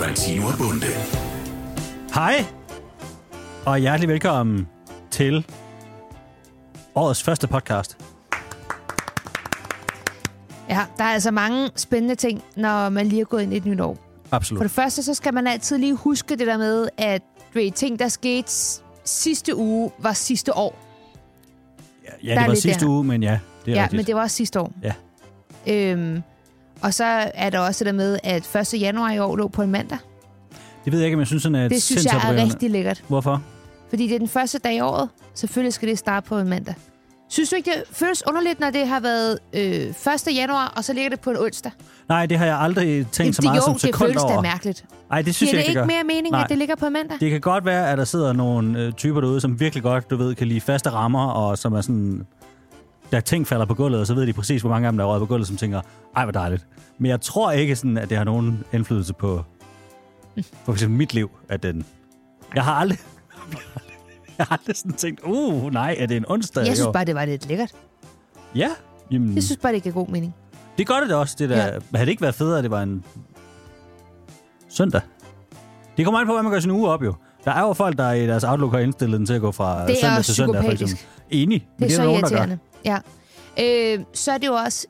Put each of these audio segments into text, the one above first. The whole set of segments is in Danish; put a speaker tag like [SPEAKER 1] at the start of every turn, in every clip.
[SPEAKER 1] Martino og Bunde.
[SPEAKER 2] Hej, og hjertelig velkommen til årets første podcast.
[SPEAKER 3] Ja, der er altså mange spændende ting, når man lige er gået ind i et nyt år. For
[SPEAKER 2] Absolut.
[SPEAKER 3] det første, så skal man altid lige huske det der med, at du ved, ting, der skete s- sidste uge, var sidste år.
[SPEAKER 2] Ja,
[SPEAKER 3] der
[SPEAKER 2] det
[SPEAKER 3] er
[SPEAKER 2] var
[SPEAKER 3] lidt
[SPEAKER 2] sidste
[SPEAKER 3] der.
[SPEAKER 2] uge, men ja, det er
[SPEAKER 3] ja,
[SPEAKER 2] rigtigt.
[SPEAKER 3] men det var også sidste år.
[SPEAKER 2] Ja.
[SPEAKER 3] Øhm, og så er der også det der med, at 1. januar i år lå på en mandag.
[SPEAKER 2] det ved jeg ikke, men jeg synes sådan, at
[SPEAKER 3] Det synes jeg er
[SPEAKER 2] sindsoprørende.
[SPEAKER 3] rigtig lækkert.
[SPEAKER 2] Hvorfor?
[SPEAKER 3] Fordi det er den første dag i året. Selvfølgelig skal det starte på en mandag. Synes du ikke, det føles underligt, når det har været øh, 1. januar, og så ligger det på en onsdag?
[SPEAKER 2] Nej, det har jeg aldrig tænkt så meget
[SPEAKER 3] jo,
[SPEAKER 2] som
[SPEAKER 3] det
[SPEAKER 2] sekund
[SPEAKER 3] føles da
[SPEAKER 2] over.
[SPEAKER 3] mærkeligt.
[SPEAKER 2] Nej, det synes
[SPEAKER 3] Giver
[SPEAKER 2] jeg
[SPEAKER 3] det
[SPEAKER 2] ikke, det
[SPEAKER 3] ikke
[SPEAKER 2] gør.
[SPEAKER 3] mere mening,
[SPEAKER 2] Nej.
[SPEAKER 3] at det ligger på en mandag?
[SPEAKER 2] Det kan godt være, at der sidder nogle øh, typer derude, som virkelig godt, du ved, kan lide faste rammer, og som er sådan... Da ting falder på gulvet, og så ved de præcis, hvor mange af dem, der er røget på gulvet, som tænker, ej, hvor dejligt. Men jeg tror ikke, sådan, at det har nogen indflydelse på for eksempel mit liv, at den... Jeg har aldrig... Jeg har aldrig sådan tænkt, uh, nej, er det en onsdag? i
[SPEAKER 3] Jeg synes
[SPEAKER 2] år?
[SPEAKER 3] bare, det var lidt lækkert.
[SPEAKER 2] Ja, jamen,
[SPEAKER 3] Jeg synes bare, det giver god mening.
[SPEAKER 2] det gør det da også, det der. Ja. Havde det ikke været federe, at det var en søndag? Det kommer an på, hvad man gør sin uge op, jo. Der er jo folk, der i deres Outlook har indstillet den til at gå fra
[SPEAKER 3] Det er
[SPEAKER 2] søndag til søndag, for
[SPEAKER 3] psykopatisk.
[SPEAKER 2] eksempel. Enig.
[SPEAKER 3] Det
[SPEAKER 2] men
[SPEAKER 3] er så
[SPEAKER 2] der nogen, der gør.
[SPEAKER 3] irriterende. Ja. Øh, så er det jo også...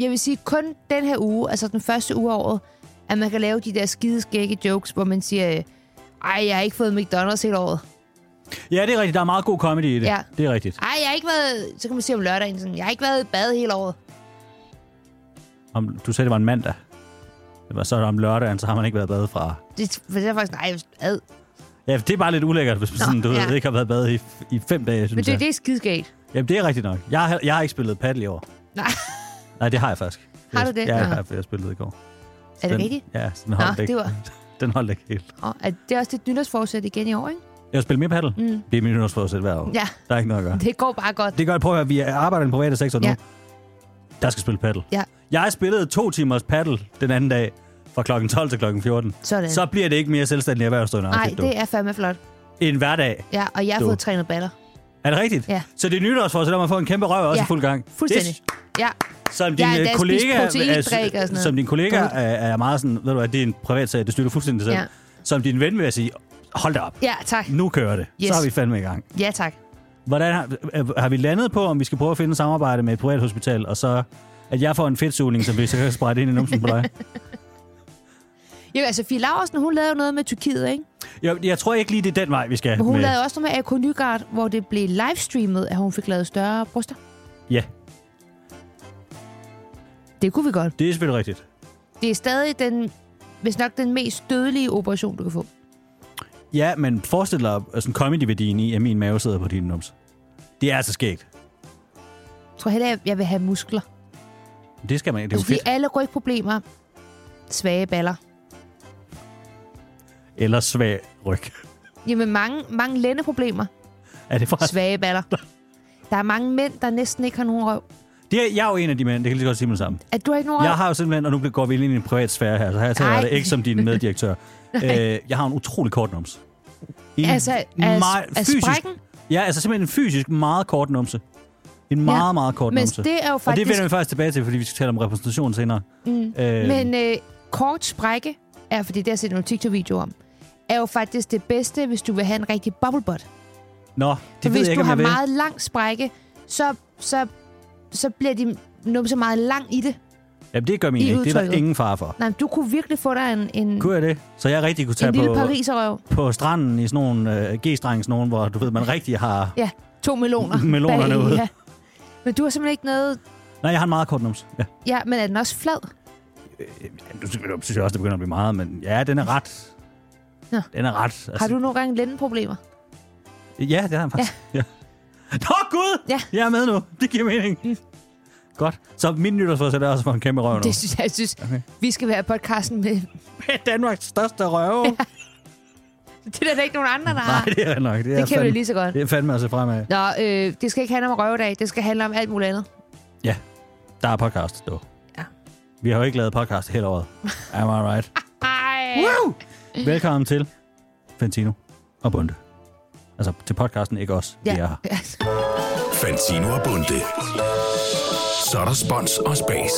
[SPEAKER 3] Jeg vil sige, kun den her uge, altså den første uge af året, at man kan lave de der skideskægge jokes, hvor man siger, øh, ej, jeg har ikke fået McDonald's hele året.
[SPEAKER 2] Ja, det er rigtigt. Der er meget god comedy i det.
[SPEAKER 3] Ja.
[SPEAKER 2] Det er rigtigt.
[SPEAKER 3] Ej, jeg har ikke været... Så kan man sige om lørdagen sådan, jeg har ikke været i bad hele året.
[SPEAKER 2] Om, du sagde, det var en mandag. Det var så om lørdagen, så har man ikke været bade fra.
[SPEAKER 3] Det, for det er faktisk, nej, ad.
[SPEAKER 2] Ja, det er bare lidt ulækkert, hvis man
[SPEAKER 3] Nå,
[SPEAKER 2] sådan, du ja.
[SPEAKER 3] ja.
[SPEAKER 2] ved, ikke har været bade i, i fem dage,
[SPEAKER 3] Men
[SPEAKER 2] synes
[SPEAKER 3] det,
[SPEAKER 2] jeg.
[SPEAKER 3] det er skideskægt.
[SPEAKER 2] Jamen, det er rigtigt nok. Jeg har, jeg har ikke spillet paddle i år.
[SPEAKER 3] Nej,
[SPEAKER 2] Nej, det har jeg faktisk.
[SPEAKER 3] Har
[SPEAKER 2] Jeg-
[SPEAKER 3] du det?
[SPEAKER 2] Ja, jeg,
[SPEAKER 3] Nå.
[SPEAKER 2] har, jeg spillede i går.
[SPEAKER 3] er det
[SPEAKER 2] den,
[SPEAKER 3] rigtigt?
[SPEAKER 2] Ja, så den
[SPEAKER 3] Nå,
[SPEAKER 2] holdt ikke.
[SPEAKER 3] det var...
[SPEAKER 2] Den holdt ikke helt.
[SPEAKER 3] Og, at det er også dit nytårsforsæt igen i år, ikke?
[SPEAKER 2] Jeg spiller mere paddle.
[SPEAKER 3] Mm.
[SPEAKER 2] Det er min yndlingsforsæt hver år.
[SPEAKER 3] Ja,
[SPEAKER 2] Der er ikke noget at gøre.
[SPEAKER 3] det går bare godt.
[SPEAKER 2] Det gør, prøv at høre, vi arbejder i den private sektor nu.
[SPEAKER 3] Ja.
[SPEAKER 2] Der skal spille paddle.
[SPEAKER 3] Ja.
[SPEAKER 2] Jeg spillede to timers paddle den anden dag fra klokken 12 til klokken 14.
[SPEAKER 3] Sådan.
[SPEAKER 2] Så bliver det ikke mere selvstændig erhvervsdrivende.
[SPEAKER 3] Nej,
[SPEAKER 2] afsnit, du.
[SPEAKER 3] det er fandme flot.
[SPEAKER 2] En hverdag.
[SPEAKER 3] Ja, og jeg har
[SPEAKER 2] Du.
[SPEAKER 3] fået trænet baller.
[SPEAKER 2] Er det rigtigt?
[SPEAKER 3] Ja.
[SPEAKER 2] Så det er nytårsforsæt, at man får en kæmpe røv også
[SPEAKER 3] Ja.
[SPEAKER 2] i fuld gang.
[SPEAKER 3] Fuldstændig.
[SPEAKER 2] Det,
[SPEAKER 3] Ja,
[SPEAKER 2] er- som din øh,
[SPEAKER 3] Jeg har endda spist
[SPEAKER 2] kollega, altså,
[SPEAKER 3] proteindrik og sådan noget.
[SPEAKER 2] som din kollega
[SPEAKER 3] Dårligt.
[SPEAKER 2] er, er, meget sådan, ved du hvad, det er en privat sag, det styrer du fuldstændig selv.
[SPEAKER 3] Ja.
[SPEAKER 2] Som din ven vil jeg sige, hold da op,
[SPEAKER 3] ja tak.
[SPEAKER 2] nu kører det.
[SPEAKER 3] Yes.
[SPEAKER 2] Så er vi fandme i gang.
[SPEAKER 3] Ja, tak.
[SPEAKER 2] Hvordan har, øh, har vi landet på, om vi skal prøve at finde et samarbejde med et privat hospital, og så at jeg får en fedtsugning, som vi så kan sprede ind i numsen på dig?
[SPEAKER 3] Jo, altså, Fie Laursen, hun lavede jo noget med Tyrkiet, ikke?
[SPEAKER 2] Jeg, jeg tror ikke lige, det er den vej, vi skal.
[SPEAKER 3] Men hun
[SPEAKER 2] med-
[SPEAKER 3] lavede også noget med AK Nygaard, hvor det blev livestreamet, at hun fik lavet større bryster.
[SPEAKER 2] Ja,
[SPEAKER 3] Det kunne vi godt.
[SPEAKER 2] det er selvfølgelig rigtigt.
[SPEAKER 3] Det er stadig den, hvis nok den mest dødelige operation, du kan få.
[SPEAKER 2] Ja, men forestil dig øh, sådan comedy-værdien i, at min mave sidder på din numse. Det er altså skægt.
[SPEAKER 3] Jeg tror heller, jeg vil have muskler.
[SPEAKER 2] Det skal man ikke. Det er jo
[SPEAKER 3] altså, fordi
[SPEAKER 2] fedt.
[SPEAKER 3] alle rygproblemer, svage baller.
[SPEAKER 2] Eller svag ryg.
[SPEAKER 3] Jamen, mange, mange lændeproblemer,
[SPEAKER 2] Er det for...
[SPEAKER 3] svage baller. Der er mange mænd, der næsten ikke har nogen røv.
[SPEAKER 2] Det er, jeg er jo en af de mænd, det kan jeg lige så godt sige med det samme.
[SPEAKER 3] At du har ikke nogen
[SPEAKER 2] Jeg
[SPEAKER 3] røv?
[SPEAKER 2] har jo simpelthen, og nu går vi ind i en privat sfære her, så her tager jeg
[SPEAKER 3] Ej.
[SPEAKER 2] det ikke som din meddirektør. øh, jeg har en utrolig kort numse. En
[SPEAKER 3] Altså, er,
[SPEAKER 2] meget-
[SPEAKER 3] er sprækken?
[SPEAKER 2] Ja, altså simpelthen en fysisk meget kort numse. En meget, ja. meget kort
[SPEAKER 3] Men
[SPEAKER 2] numse.
[SPEAKER 3] det er
[SPEAKER 2] Og
[SPEAKER 3] jo
[SPEAKER 2] det
[SPEAKER 3] faktisk...
[SPEAKER 2] vender vi faktisk tilbage til, fordi vi skal tale om repræsentation senere.
[SPEAKER 3] Mm.
[SPEAKER 2] Øh,
[SPEAKER 3] Men øh, kort sprække, er, fordi det har jeg set nogle TikTok-videoer om, er jo faktisk det bedste, hvis du vil have en rigtig bubble butt.
[SPEAKER 2] Nå,
[SPEAKER 3] For
[SPEAKER 2] det ved
[SPEAKER 3] hvis
[SPEAKER 2] jeg ikke,
[SPEAKER 3] du
[SPEAKER 2] om
[SPEAKER 3] har
[SPEAKER 2] jeg vil.
[SPEAKER 3] meget lang sprække, så, så, så bliver din numse meget lang i det.
[SPEAKER 2] Jamen, det gør min
[SPEAKER 3] i
[SPEAKER 2] ikke. Det er der
[SPEAKER 3] udtrykket.
[SPEAKER 2] ingen far for.
[SPEAKER 3] Nej, men du kunne virkelig få dig en, en,
[SPEAKER 2] Kunne jeg det? Så jeg rigtig kunne tage
[SPEAKER 3] en lille
[SPEAKER 2] på,
[SPEAKER 3] pariserøv.
[SPEAKER 2] på stranden i sådan nogle øh, G-strengs, nogen, hvor du ved, man rigtig har...
[SPEAKER 3] Ja, to meloner.
[SPEAKER 2] Melonerne
[SPEAKER 3] bag i,
[SPEAKER 2] ude.
[SPEAKER 3] Ja. Men du har simpelthen ikke noget...
[SPEAKER 2] Nej, jeg har en meget kort numse. Ja.
[SPEAKER 3] Ja, men er den også flad?
[SPEAKER 2] Ja, Nu synes jeg- nu synes jeg også, det begynder at blive meget, men ja, den er ret...
[SPEAKER 3] Nå.
[SPEAKER 2] Den er ret. Altså,
[SPEAKER 3] Har du nogle gange lændeproblemer?
[SPEAKER 2] Ja, det har han faktisk. Ja. Ja. Nå, Gud!
[SPEAKER 3] Ja.
[SPEAKER 2] Jeg er med nu. Det giver mening. Mm. Godt. Så min nytårsforsæt er også for en kæmpe røv nu.
[SPEAKER 3] Det synes jeg, jeg synes,
[SPEAKER 2] Okay.
[SPEAKER 3] okay. vi skal være i podcasten med.
[SPEAKER 2] er Danmarks største røv. Ja.
[SPEAKER 3] Det er der da ikke nogen andre, der
[SPEAKER 2] Nej,
[SPEAKER 3] har.
[SPEAKER 2] det er nok. Det, er
[SPEAKER 3] Det kan vi
[SPEAKER 2] fandme,
[SPEAKER 3] lige så godt.
[SPEAKER 2] Det er fandme at se fremad.
[SPEAKER 3] Nå, øh, det skal ikke handle om røvedag. Det skal handle om alt muligt andet.
[SPEAKER 2] Der er podcast, du.
[SPEAKER 3] Ja.
[SPEAKER 2] Vi har jo ikke lavet podcast hele året. Am I right?
[SPEAKER 3] Ej.
[SPEAKER 2] Woo! Velkommen til Fantino og Bunde. Altså til podcasten, ikke os. Vi er her.
[SPEAKER 1] Fantino og Bunde. Så er der spons og spas.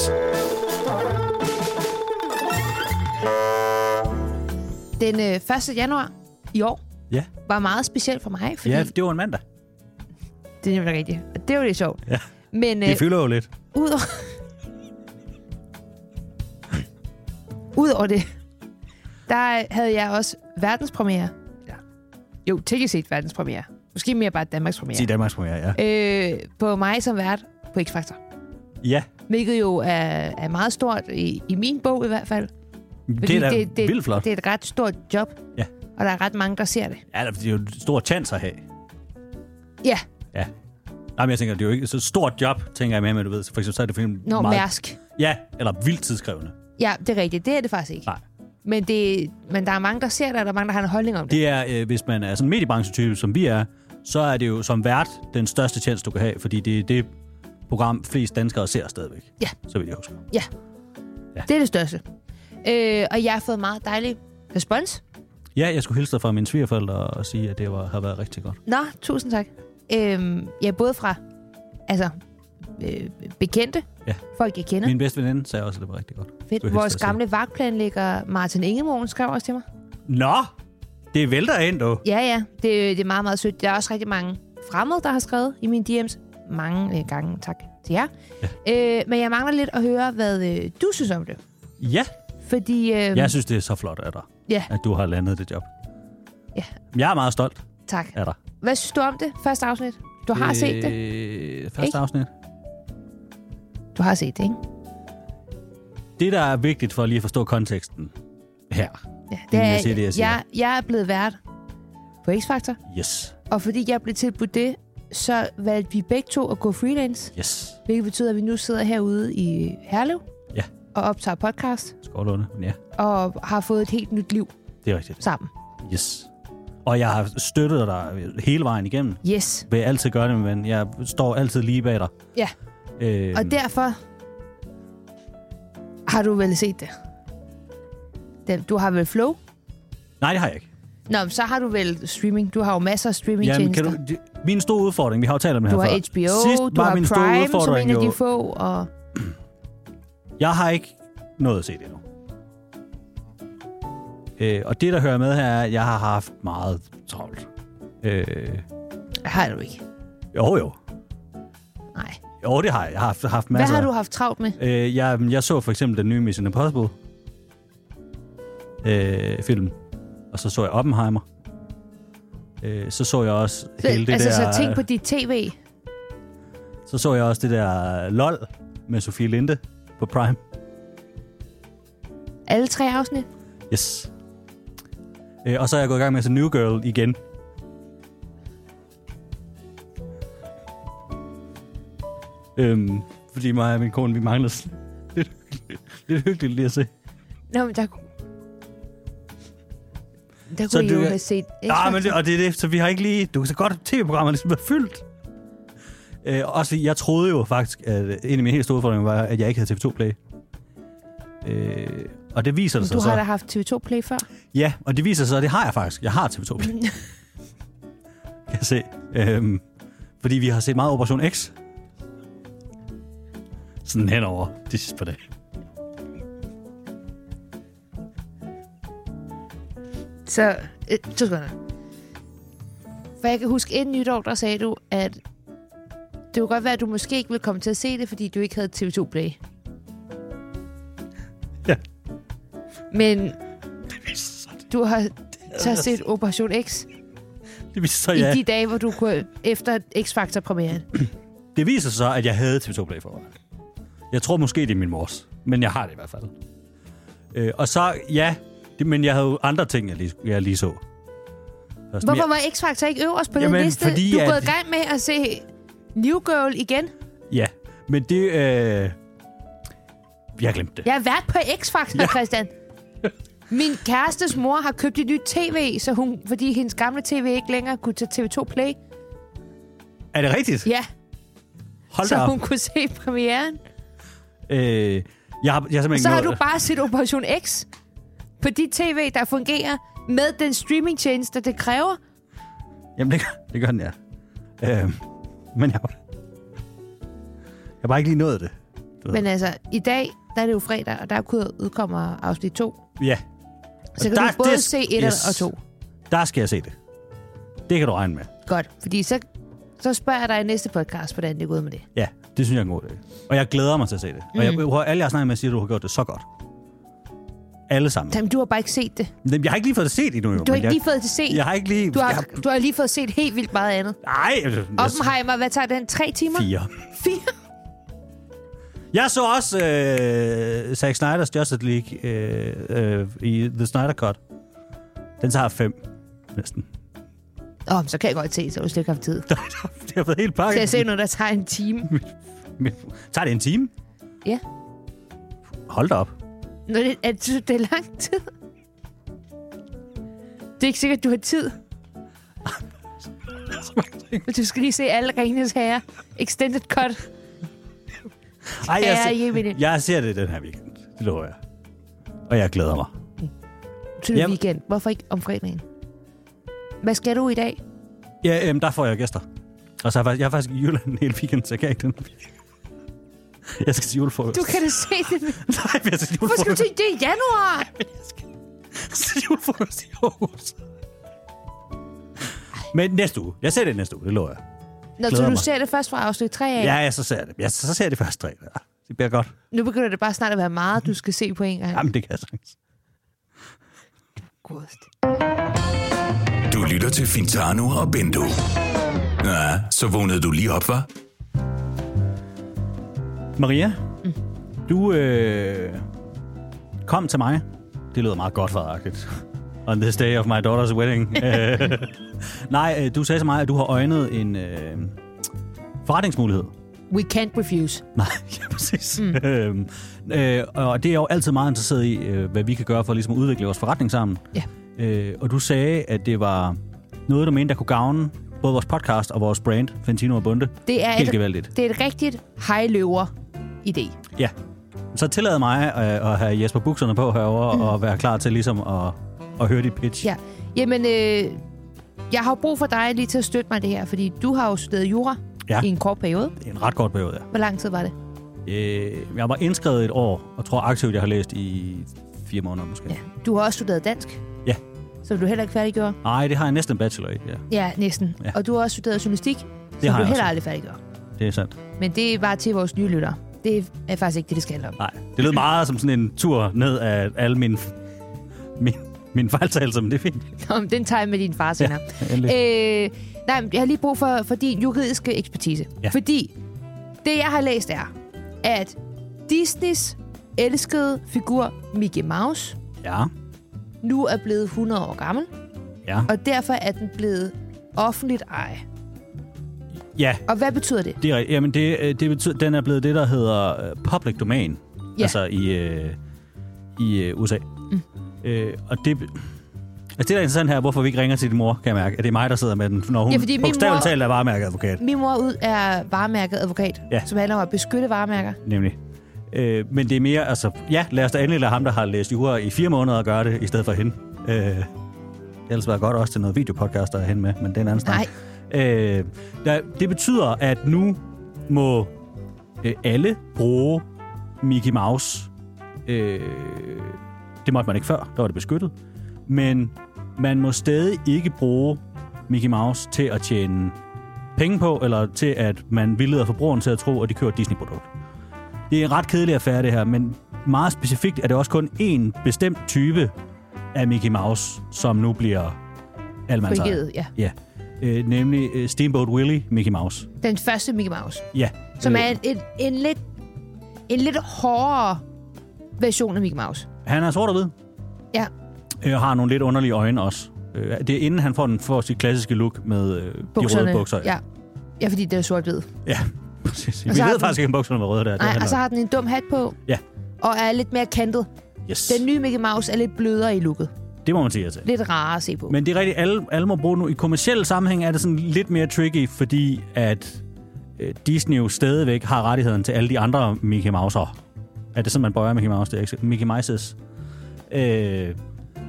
[SPEAKER 3] Den øh, 1. januar i år
[SPEAKER 2] Ja.
[SPEAKER 3] var meget speciel for mig, fordi
[SPEAKER 2] Ja,
[SPEAKER 3] ja.
[SPEAKER 2] det var en mandag.
[SPEAKER 3] det er nemlig rigtigt. Og det er jo lidt sjovt.
[SPEAKER 2] Ja.
[SPEAKER 3] Men
[SPEAKER 2] Det
[SPEAKER 3] øh,
[SPEAKER 2] fylder jo lidt.
[SPEAKER 3] Udover... Udover det, der havde jeg også verdenspremiere.
[SPEAKER 2] Ja.
[SPEAKER 3] Jo, teknisk set verdenspremiere. Måske mere bare Danmarks premiere.
[SPEAKER 2] Ja. I Danmarks premiere, ja.
[SPEAKER 3] Øh, på mig som vært på X-Factor.
[SPEAKER 2] Ja,
[SPEAKER 3] Hvilket jo er, er meget stort, i, i min bog i hvert fald.
[SPEAKER 2] det er da det, det, vildt flot.
[SPEAKER 3] Det er et ret stort job.
[SPEAKER 2] Ja.
[SPEAKER 3] Og der er ret mange, der ser det.
[SPEAKER 2] Ja, det er jo en stor chance at have.
[SPEAKER 3] Ja,
[SPEAKER 2] Ja. Nej, men jeg tænker, det er jo ikke så stort job, tænker jeg med, men du ved, for eksempel så er det for eksempel
[SPEAKER 3] når
[SPEAKER 2] meget...
[SPEAKER 3] Mærsk.
[SPEAKER 2] Ja, eller vildt tidskrævende.
[SPEAKER 3] Ja, det er rigtigt. Det er det faktisk ikke.
[SPEAKER 2] Nej.
[SPEAKER 3] Men, det, men der er mange, der ser det, og der er mange, der har en holdning om det.
[SPEAKER 2] Det er, øh, hvis man er sådan en mediebranchetype, som vi er, så er det jo som vært den største tjeneste, du kan have, fordi det er det program, flest danskere ser stadigvæk.
[SPEAKER 3] Ja.
[SPEAKER 2] Så vil jeg huske.
[SPEAKER 3] Ja.
[SPEAKER 2] Ja.
[SPEAKER 3] ja. Det er det største. Øh, og jeg har fået meget dejlig respons.
[SPEAKER 2] Ja, jeg skulle hilse dig fra mine svigerforældre og sige, at det var, har været rigtig godt.
[SPEAKER 3] Nå, tusind tak. Øh, ja, både fra altså, øh, bekendte,
[SPEAKER 2] Ja.
[SPEAKER 3] folk jeg kender.
[SPEAKER 2] Min bedste veninde sagde også, at det var rigtig godt. Skulle jeg
[SPEAKER 3] Fedt.
[SPEAKER 2] hilse
[SPEAKER 3] Vores
[SPEAKER 2] dig og
[SPEAKER 3] gamle vagtplanlægger Martin Ingemoen skrev også til mig.
[SPEAKER 2] sige. Nå! Det vælter ind, du.
[SPEAKER 3] Ja, ja. Det, det er meget, meget sødt. Der er også rigtig mange fremmede, der har skrevet i mine DM's. Mange øh, gange tak til jer. Ja. Øh, men jeg mangler lidt at høre, hvad øh, du synes om det.
[SPEAKER 2] Ja.
[SPEAKER 3] Fordi... Øh,
[SPEAKER 2] Jeg synes, det er så flot af dig,
[SPEAKER 3] ja,
[SPEAKER 2] at du har landet det job.
[SPEAKER 3] Ja.
[SPEAKER 2] Jeg er meget stolt
[SPEAKER 3] tak.
[SPEAKER 2] af dig.
[SPEAKER 3] Hvad synes du om det? Første afsnit. Du har øh... set det.
[SPEAKER 2] det. Første
[SPEAKER 3] Ikke?
[SPEAKER 2] afsnit.
[SPEAKER 3] Du har set det, ikke?
[SPEAKER 2] Det, der er vigtigt for lige at forstå konteksten her.
[SPEAKER 3] Ja,
[SPEAKER 2] Inden jeg siger det, jeg siger.
[SPEAKER 3] jeg, jeg er blevet vært på X-Factor,
[SPEAKER 2] Yes.
[SPEAKER 3] og fordi jeg blev tilbudt det, så valgte vi begge to at gå freelance,
[SPEAKER 2] Yes.
[SPEAKER 3] hvilket betyder, at vi nu sidder herude i Herlev
[SPEAKER 2] Ja.
[SPEAKER 3] og optager podcast,
[SPEAKER 2] Skål, Lunde. Men ja,
[SPEAKER 3] og har fået et helt nyt liv
[SPEAKER 2] det er rigtigt.
[SPEAKER 3] sammen.
[SPEAKER 2] Yes. Og jeg har støttet dig øh, hele vejen igennem.
[SPEAKER 3] Yes.
[SPEAKER 2] Vil jeg altid gøre det, men jeg står altid lige bag dig.
[SPEAKER 3] Ja,
[SPEAKER 2] Øh,
[SPEAKER 3] og derfor har du vel set det. Den- Du har vel Flow?
[SPEAKER 2] Nej, det har jeg ikke.
[SPEAKER 3] Nå, men så har du vel streaming. Du har jo masser af
[SPEAKER 2] Jamen, kan
[SPEAKER 3] streamingtjenester.
[SPEAKER 2] du, det, min store udfordring, vi har jo talt om det
[SPEAKER 3] Du
[SPEAKER 2] her
[SPEAKER 3] har
[SPEAKER 2] før.
[SPEAKER 3] HBO,
[SPEAKER 2] Sidst
[SPEAKER 3] du
[SPEAKER 2] var
[SPEAKER 3] har
[SPEAKER 2] min store
[SPEAKER 3] Prime, som
[SPEAKER 2] udfordring
[SPEAKER 3] en af
[SPEAKER 2] jo,
[SPEAKER 3] de få, og...
[SPEAKER 2] jeg har ikke noget at se det endnu. Øh, og det, der hører med her, er, at jeg har haft meget travlt. Øh,
[SPEAKER 3] Har du ikke?
[SPEAKER 2] jo, jo.
[SPEAKER 3] Nej.
[SPEAKER 2] Jo, det har jeg. Jeg har haft, haft
[SPEAKER 3] Hvad
[SPEAKER 2] masser.
[SPEAKER 3] har du haft travlt med?
[SPEAKER 2] Øh, jeg, jeg så for eksempel den nye Mission Impossible øh, film, og så så jeg Oppenheimer. Øh, så så jeg også så, hele det
[SPEAKER 3] altså,
[SPEAKER 2] der...
[SPEAKER 3] så tænk på dit tv.
[SPEAKER 2] Så så jeg også det der LOL med Sofie Linde på Prime.
[SPEAKER 3] Alle tre afsnit.
[SPEAKER 2] Yes. Øh, og så er jeg gået i gang med at se New Girl igen. Øhm, fordi mig og min kone, vi mangler s- lidt hyggeligt, lidt hyggeligt lige at se.
[SPEAKER 3] Nå, men der... Der
[SPEAKER 2] Så
[SPEAKER 3] kunne I
[SPEAKER 2] du
[SPEAKER 3] jo
[SPEAKER 2] kan-
[SPEAKER 3] have set x
[SPEAKER 2] Ja, Ah, men det, og det er det, så vi har ikke lige... Du kan så godt, tv-programmet ligesom er fyldt. Øh, også fordi jeg troede jo faktisk, at øh, en af mine helt store udfordringer var, at jeg ikke havde TV2 Play. Øh, og det viser det
[SPEAKER 3] Du
[SPEAKER 2] sig så.
[SPEAKER 3] har da haft TV2 Play før.
[SPEAKER 2] Ja, og det viser sig, at det har jeg faktisk. Jeg har TV2 Play. kan jeg se. Øhm, fordi vi har set meget Operation X. Sådan henover de sidste par dage.
[SPEAKER 3] Så, øh, to sekunder. For jeg kan huske, inden nytår, der sagde du, at det kunne godt være, at du måske ikke ville komme til at se det, fordi du ikke havde TV2 Play.
[SPEAKER 2] Ja.
[SPEAKER 3] Men du har så set Operation X
[SPEAKER 2] Det viser sig,
[SPEAKER 3] i
[SPEAKER 2] ja.
[SPEAKER 3] de dage, hvor du kunne, efter X-Factor-premieren.
[SPEAKER 2] Det viser sig så, at jeg havde TV2 Play forvejen. Jeg tror måske, det er min mors. Men jeg har det i hvert fald. Øh, og så, ja. Det, men jeg havde jo andre ting, jeg lige, jeg lige så. Først, men
[SPEAKER 3] Hvorfor var X-Factor ikke øverst på
[SPEAKER 2] Jamen,
[SPEAKER 3] den liste?
[SPEAKER 2] fordi
[SPEAKER 3] du er
[SPEAKER 2] at-
[SPEAKER 3] gået i gang med at se New Girl igen.
[SPEAKER 2] Jeg, ja, men det... Øh, jeg glemte det.
[SPEAKER 3] Jeg har været på X-Factor, ja. Christian. Min kærestes mor har købt et nyt tv, så hun, fordi hendes gamle tv ikke længere kunne tage TV2 Play.
[SPEAKER 2] Er det rigtigt?
[SPEAKER 3] Ja,
[SPEAKER 2] Hold da
[SPEAKER 3] så
[SPEAKER 2] op.
[SPEAKER 3] hun kunne se premieren.
[SPEAKER 2] Øh, jeg, har, jeg har simpelthen
[SPEAKER 3] Så har
[SPEAKER 2] ikke
[SPEAKER 3] du
[SPEAKER 2] nået-
[SPEAKER 3] bare set Operation X på dit tv, der fungerer med den streamingtjeneste, det kræver.
[SPEAKER 2] Jamen, det gør, det gør den, ja. Øh, men jeg, jeg har bare ikke lige nået det.
[SPEAKER 3] Men altså, i dag, der er det jo fredag, og der udkommer afsnit 2.
[SPEAKER 2] Ja,
[SPEAKER 3] Så kan
[SPEAKER 2] Der-
[SPEAKER 3] der, du både
[SPEAKER 2] det-
[SPEAKER 3] se 1 yes.
[SPEAKER 2] yes.
[SPEAKER 3] og 2.
[SPEAKER 2] Der skal jeg se det. Det kan du regne med.
[SPEAKER 3] Godt, fordi så, så spørger jeg dig i næste podcast, hvordan det er gået med det.
[SPEAKER 2] Ja, det synes jeg er en god idé. Og jeg glæder mig til at se det. Mm. Og jeg, prøv, alle, jeg har snakket med, siger, at du har gjort det så godt. Alle sammen.
[SPEAKER 3] Jamen, du har bare ikke set det.
[SPEAKER 2] Men Jeg har ikke lige fået det set endnu. jo,
[SPEAKER 3] Du har
[SPEAKER 2] men
[SPEAKER 3] ikke
[SPEAKER 2] jeg,
[SPEAKER 3] lige fået det set.
[SPEAKER 2] Jeg har ikke lige...
[SPEAKER 3] Du har,
[SPEAKER 2] jeg,
[SPEAKER 3] du har lige fået set helt vildt meget andet.
[SPEAKER 2] ej, jeg,
[SPEAKER 3] Oppenheimer, hvad tager den? Tre timer?
[SPEAKER 2] fire.
[SPEAKER 3] Fire?
[SPEAKER 2] Jeg så også øh, Zack Snyder's Justice League øh, øh, i The Snyder Cut. Den tager fem, næsten.
[SPEAKER 3] Åh, oh, så kan jeg godt se, så har du slet ikke haft tid.
[SPEAKER 2] det har været helt
[SPEAKER 3] Til
[SPEAKER 2] pakket.
[SPEAKER 3] at se noget, der tager en time.
[SPEAKER 2] Tager det en time?
[SPEAKER 3] Ja.
[SPEAKER 2] Hold da op.
[SPEAKER 3] Nå, det, er, du, det er lang tid. Det er ikke sikkert, du har tid. Men du skal lige se alle Ringens Herre. Extended cut.
[SPEAKER 2] Ej,
[SPEAKER 3] Ja,
[SPEAKER 2] ser-
[SPEAKER 3] jeg ved det.
[SPEAKER 2] jeg ser det den her weekend. Det lover jeg. Og jeg glæder mig.
[SPEAKER 3] Til
[SPEAKER 2] Jamen.
[SPEAKER 3] Jamen. weekend. Hvorfor ikke om fredagen? Hvad skal du i dag?
[SPEAKER 2] Ja, øhm, der får jeg gæster. Og så er jeg faktisk, jeg er faktisk i Jylland hele weekenden, så jeg kan ikke den. Jeg skal til julefrokost.
[SPEAKER 3] Du kan da se det. nu.
[SPEAKER 2] Nej, men jeg skal til
[SPEAKER 3] Hvorfor skal
[SPEAKER 2] julefrokost.
[SPEAKER 3] du til det i januar?
[SPEAKER 2] Jeg skal til julefrokost i Aarhus. Men næste uge. Jeg ser det næste uge, det lover jeg.
[SPEAKER 3] Når
[SPEAKER 2] Glæder
[SPEAKER 3] du
[SPEAKER 2] mig.
[SPEAKER 3] ser det først fra afsnit 3 af.
[SPEAKER 2] Ja, ja, så ser jeg det. Ja, så, så ser jeg det første tre. Ja, det bliver godt.
[SPEAKER 3] Nu begynder det bare snart at være meget, du skal se på en gang.
[SPEAKER 2] Jamen, det kan jeg sagtens.
[SPEAKER 3] Godest.
[SPEAKER 1] Du lytter til Fintano og Bendo. Ja, så vågnede du lige op, var?
[SPEAKER 2] Maria, mm. du øh, kom til mig. Det lyder meget godt foragtigt. On this day of my daughter's wedding. Øh, Nej, øh, du sagde til mig, at du har øjnet en øh, forretningsmulighed.
[SPEAKER 3] We can't refuse.
[SPEAKER 2] Nej, ja, præcis. Mm. Øhm, øh, og det er jeg jo altid meget interesseret i, øh, hvad vi kan gøre for ligesom at udvikle vores forretning sammen.
[SPEAKER 3] Ja.
[SPEAKER 2] Øh, og du sagde, at det var noget, du mente, der kunne gavne både vores podcast og vores brand, Fentino og Bunde.
[SPEAKER 3] Det er
[SPEAKER 2] Helt
[SPEAKER 3] et-
[SPEAKER 2] gevaldigt.
[SPEAKER 3] Det er et rigtigt hejløver-idé.
[SPEAKER 2] Ja. Så tillad mig øh, at have Jesper bukserne på herovre mm. og være klar til ligesom at, at høre dit pitch.
[SPEAKER 3] Ja. Jamen, øh, jeg har jo brug for dig lige til at støtte mig i det her, fordi du har jo studeret jura
[SPEAKER 2] Ja.
[SPEAKER 3] i en kort periode.
[SPEAKER 2] Det er en ret kort periode, ja.
[SPEAKER 3] Hvor lang tid var det?
[SPEAKER 2] Øh, jeg var indskrevet et år, og tror aktivt, jeg har læst i fire måneder måske.
[SPEAKER 3] Ja. Du har også studeret dansk,
[SPEAKER 2] ja.
[SPEAKER 3] som du heller ikke færdiggjorde.
[SPEAKER 2] Nej, det har jeg næsten en bachelor i. Ja,
[SPEAKER 3] Ja, næsten.
[SPEAKER 2] Ja.
[SPEAKER 3] Ja. Og du har også studeret journalistik, som
[SPEAKER 2] har jeg
[SPEAKER 3] du heller
[SPEAKER 2] også.
[SPEAKER 3] aldrig færdiggjorde.
[SPEAKER 2] det er sandt.
[SPEAKER 3] Men det er bare til vores nye lyttere. Det er faktisk ikke det, det skal handle om.
[SPEAKER 2] Nej, det lød meget som sådan en tur ned af alle mine, mine, mine fejltagelser, men det er fint.
[SPEAKER 3] Nå, men den tager jeg med din far senere.
[SPEAKER 2] endelig.
[SPEAKER 3] øh, nej, men jeg har lige brug for, for din juridiske ekspertise.
[SPEAKER 2] Ja.
[SPEAKER 3] Fordi det, jeg har læst, er, at Disneys elskede figur Mickey Mouse
[SPEAKER 2] Ja,
[SPEAKER 3] nu er blevet 100 år gammel,
[SPEAKER 2] ja.
[SPEAKER 3] og derfor er den blevet offentligt eje.
[SPEAKER 2] Ja,
[SPEAKER 3] Og hvad betyder det?
[SPEAKER 2] det er rigtigt. Jamen, det, øh, det betyder, den er blevet det, der hedder øh, public domain.
[SPEAKER 3] Ja.
[SPEAKER 2] Altså i, øh, i øh, USA. Mm. Øh, og det... Altså, det der er interessant her, hvorfor vi ikke ringer til din mor, kan jeg mærke. At det er mig, der sidder med den, når hun
[SPEAKER 3] Ja,
[SPEAKER 2] ja,
[SPEAKER 3] fordi min
[SPEAKER 2] bogstaveligt
[SPEAKER 3] mor-
[SPEAKER 2] talt er varemærkeadvokat,
[SPEAKER 3] Min mor ud er varemærket advokat,
[SPEAKER 2] Ja.
[SPEAKER 3] som handler om at beskytte varemærker.
[SPEAKER 2] nemlig. Øh, men det er mere, altså, ja, lad os da endelig lade ham, der har læst jura i fire måneder, gøre det, i stedet for hende. Øh, det har ellers været godt også til noget videopodcast, der er hende med, men det er en anden snak.
[SPEAKER 3] Nej.
[SPEAKER 2] Øh, der, det betyder, at nu må øh, alle bruge Mickey Mouse. Øh, det måtte man ikke før, der var det beskyttet. Men man må stadig ikke bruge Mickey Mouse til at tjene penge på, eller til at man vildleder forbrugeren til at tro, at de kører et Disney-produkt. Det er en ret kedelig affære, det her, men meget specifikt er det også kun én bestemt type af Mickey Mouse, som nu bliver almandsejet.
[SPEAKER 3] Frigivet, ja.
[SPEAKER 2] Ja, øh, nemlig øh, Steamboat Willie, Mickey Mouse.
[SPEAKER 3] Den første Mickey Mouse,
[SPEAKER 2] Ja.
[SPEAKER 3] som
[SPEAKER 2] øh,
[SPEAKER 3] er en, en, en, lidt, en lidt hårdere version af Mickey Mouse.
[SPEAKER 2] Han er sort og hvid,
[SPEAKER 3] Ja,
[SPEAKER 2] øh, og har nogle lidt underlige øjne også. Øh, det er inden han får, den, får sit klassiske look med øh, de røde bukser.
[SPEAKER 3] Ja. ja, fordi det er sort-hvid.
[SPEAKER 2] ja præcis. Vi
[SPEAKER 3] så har
[SPEAKER 2] ved
[SPEAKER 3] den-
[SPEAKER 2] faktisk ikke, om bukserne var røde der. Det
[SPEAKER 3] Nej,
[SPEAKER 2] handler
[SPEAKER 3] og så
[SPEAKER 2] om-
[SPEAKER 3] har den en dum hat på,
[SPEAKER 2] Ja,
[SPEAKER 3] og er lidt mere kantet.
[SPEAKER 2] yes.
[SPEAKER 3] Den nye Mickey Mouse er lidt blødere i looket.
[SPEAKER 2] Det må man sige ja til.
[SPEAKER 3] Lidt rarere at se på. Men...
[SPEAKER 2] Men det er rigtigt, alle, alle må bruge nu. I kommersiel sammenhæng er det sådan lidt mere tricky, fordi at øh, Disney jo stadigvæk har rettigheden til alle de andre Mickey Mouse'er. Er det sådan, man bøjer Mickey Mouse? Det er ikke så- Mickey Mouse's. Øh,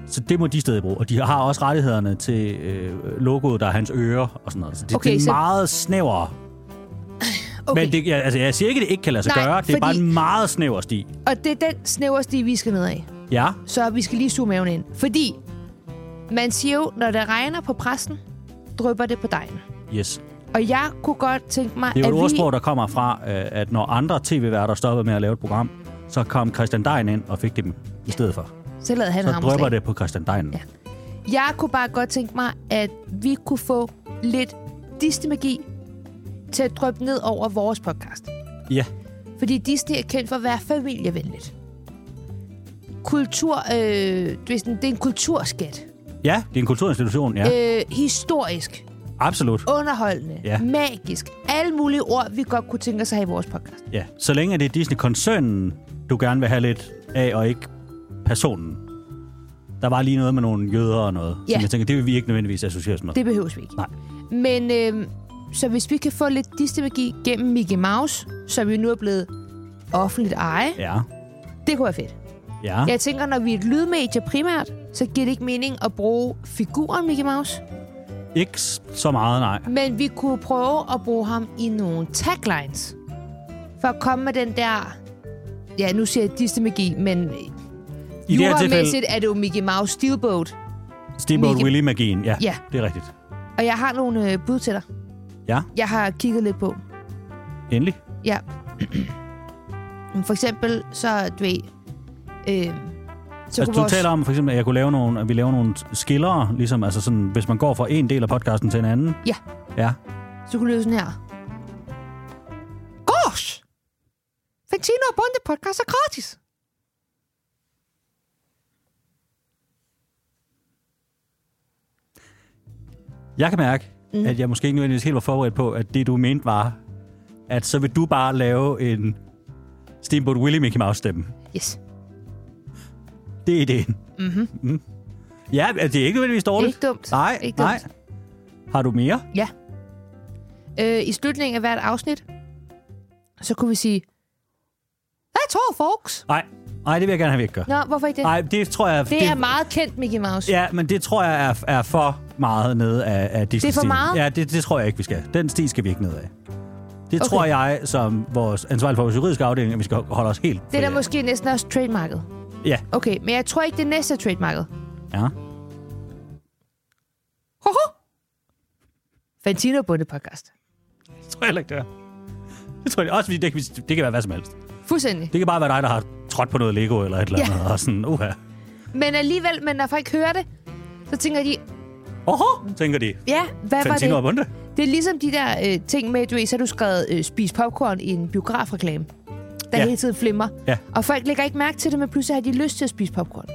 [SPEAKER 2] så det må de stadig bruge. Og de har også rettighederne til øh, logoet, der er hans ører og sådan noget. Så det,
[SPEAKER 3] Okay,
[SPEAKER 2] det er
[SPEAKER 3] så-
[SPEAKER 2] meget snævere. Okay.
[SPEAKER 3] Okay,
[SPEAKER 2] Men det, jeg, altså, jeg siger ikke, at det ikke kan lade sig
[SPEAKER 3] Nej,
[SPEAKER 2] gøre. Det er bare
[SPEAKER 3] fordi-
[SPEAKER 2] en meget snæver sti.
[SPEAKER 3] og det er den snæversti, vi skal ned af.
[SPEAKER 2] Ja,
[SPEAKER 3] Så vi skal lige suge maven ind. Fordi man siger jo, når det regner på præsten, drypper det på dejen.
[SPEAKER 2] yes.
[SPEAKER 3] Og jeg kunne godt tænke mig,
[SPEAKER 2] Det er jo et
[SPEAKER 3] at vi...
[SPEAKER 2] ordsprog, der kommer fra, øh, at når andre tv-værter stoppede med at lave et program, så kom Christian Dein ind og fik dem i stedet for.
[SPEAKER 3] Så lader han
[SPEAKER 2] Så
[SPEAKER 3] hammerslag.
[SPEAKER 2] drøber det på Christian Dein.
[SPEAKER 3] Ja. Jeg kunne bare godt tænke mig, at vi kunne få lidt Disney-magi til at drøbe ned over vores podcast.
[SPEAKER 2] ja.
[SPEAKER 3] Fordi Disney er kendt for at være familievenligt. Kultur, øh, det, er sådan, det er en kulturskat.
[SPEAKER 2] Ja, det er en kulturinstitution, ja. Øh.
[SPEAKER 3] Ja. Øh, historisk,
[SPEAKER 2] Absolut.
[SPEAKER 3] underholdende,
[SPEAKER 2] Ja.
[SPEAKER 3] ja. magisk. Alle mulige ord, vi godt kunne tænke os at have i vores podcast.
[SPEAKER 2] Ja. Så længe det er Disney-koncernen, du gerne vil have lidt af, og ikke personen. Der var lige noget med nogle jøder og noget, ja.
[SPEAKER 3] Ja.
[SPEAKER 2] som jeg tænker, det vil vi ikke nødvendigvis associeres med. Det.
[SPEAKER 3] Det behøves vi ikke.
[SPEAKER 2] Nej.
[SPEAKER 3] Men øh, så hvis vi kan få lidt Disney-magi gennem Mickey Mouse, som jo nu er blevet offentligt eje, ja.
[SPEAKER 2] Ja.
[SPEAKER 3] det kunne være fedt.
[SPEAKER 2] Ja. ja.
[SPEAKER 3] Jeg tænker, når vi er et lydmedie primært, så giver det ikke mening at bruge figuren Mickey Mouse,
[SPEAKER 2] Ikke s- så meget, nej.
[SPEAKER 3] men vi kunne prøve at bruge ham i nogle taglines. For at komme med den der... Ja, nu siger jeg Disney-magi, men
[SPEAKER 2] I det her tilfælde,
[SPEAKER 3] jordmæssigt er det jo Mickey Mouse Steelboat.
[SPEAKER 2] Steamboat
[SPEAKER 3] Mickey-
[SPEAKER 2] Willie-magien. Ja,
[SPEAKER 3] Ja.
[SPEAKER 2] det er rigtigt.
[SPEAKER 3] Og jeg har nogle øh, bud til dig.
[SPEAKER 2] Ja.
[SPEAKER 3] Jeg har kigget lidt på.
[SPEAKER 2] Endelig.
[SPEAKER 3] Ja. Men For eksempel, så du ved... Øh, så
[SPEAKER 2] Altså,
[SPEAKER 3] kunne
[SPEAKER 2] du taler om, for eksempel, at jeg kunne lave nogle, at vi laver nogle skillere, ligesom, altså sådan, hvis man går fra en del af podcasten til en anden.
[SPEAKER 3] Ja.
[SPEAKER 2] Ja.
[SPEAKER 3] Så kunne det lyde sådan her. Gosh! Fantino og Bonde podcast er gratis.
[SPEAKER 2] Jeg kan mærke, mm. at jeg måske ikke nødvendigvis helt var forberedt på, at det, du mente var, at så vil du bare lave en Steamboat Willie Mickey Mouse stemme.
[SPEAKER 3] Yes.
[SPEAKER 2] Det er ideen. Mm-hmm. Mm. Ja, altså, det er ikke nødvendigvis dårligt.
[SPEAKER 3] Ikke dumt.
[SPEAKER 2] Nej,
[SPEAKER 3] Ikke
[SPEAKER 2] nej.
[SPEAKER 3] dumt.
[SPEAKER 2] Har du mere?
[SPEAKER 3] Ja. Øh, I slutningen af hvert afsnit, så kunne vi sige, That's all, folks.
[SPEAKER 2] Nej, nej, det vil jeg gerne have, vi ikke gør.
[SPEAKER 3] Nå, hvorfor ikke det?
[SPEAKER 2] Nej, det tror jeg...
[SPEAKER 3] det er meget kendt, Mickey Mouse.
[SPEAKER 2] Ja, men det tror jeg er, er for meget nede af, af disney
[SPEAKER 3] Det er for meget?
[SPEAKER 2] Ja, det, det tror jeg ikke, vi skal. Den sti skal vi ikke ned af. Det
[SPEAKER 3] Okay.
[SPEAKER 2] tror jeg, som vores ansvarlig for vores juridiske afdeling, at vi skal holde os helt
[SPEAKER 3] Det er
[SPEAKER 2] fri
[SPEAKER 3] da
[SPEAKER 2] af.
[SPEAKER 3] måske næsten også trademarket.
[SPEAKER 2] Ja.
[SPEAKER 3] Okay, men jeg tror ikke, det er næste er trademarket.
[SPEAKER 2] ja.
[SPEAKER 3] Hoho! Fantino Bunde podcast.
[SPEAKER 2] Det tror jeg heller ikke, det er. Det tror jeg også, fordi det kan, det kan være hvad som helst.
[SPEAKER 3] Fuldstændig.
[SPEAKER 2] Det kan bare være dig, der har trådt på noget Lego eller et eller
[SPEAKER 3] Ja.
[SPEAKER 2] andet. Og sådan, uha.
[SPEAKER 3] Men alligevel, men når folk hører det, så tænker de,
[SPEAKER 2] Oho, tænker de.
[SPEAKER 3] ja, hvad
[SPEAKER 2] Fantino
[SPEAKER 3] var
[SPEAKER 2] og
[SPEAKER 3] det?
[SPEAKER 2] Bunde.
[SPEAKER 3] Det er ligesom de der øh, ting med, du ved, så har du skrevet øh, spis popcorn i en biografreklame, der
[SPEAKER 2] Ja.
[SPEAKER 3] ja. hele tiden flimmer.
[SPEAKER 2] Ja.
[SPEAKER 3] Og folk lægger ikke mærke til det, men pludselig har de lyst til at spise popcorn.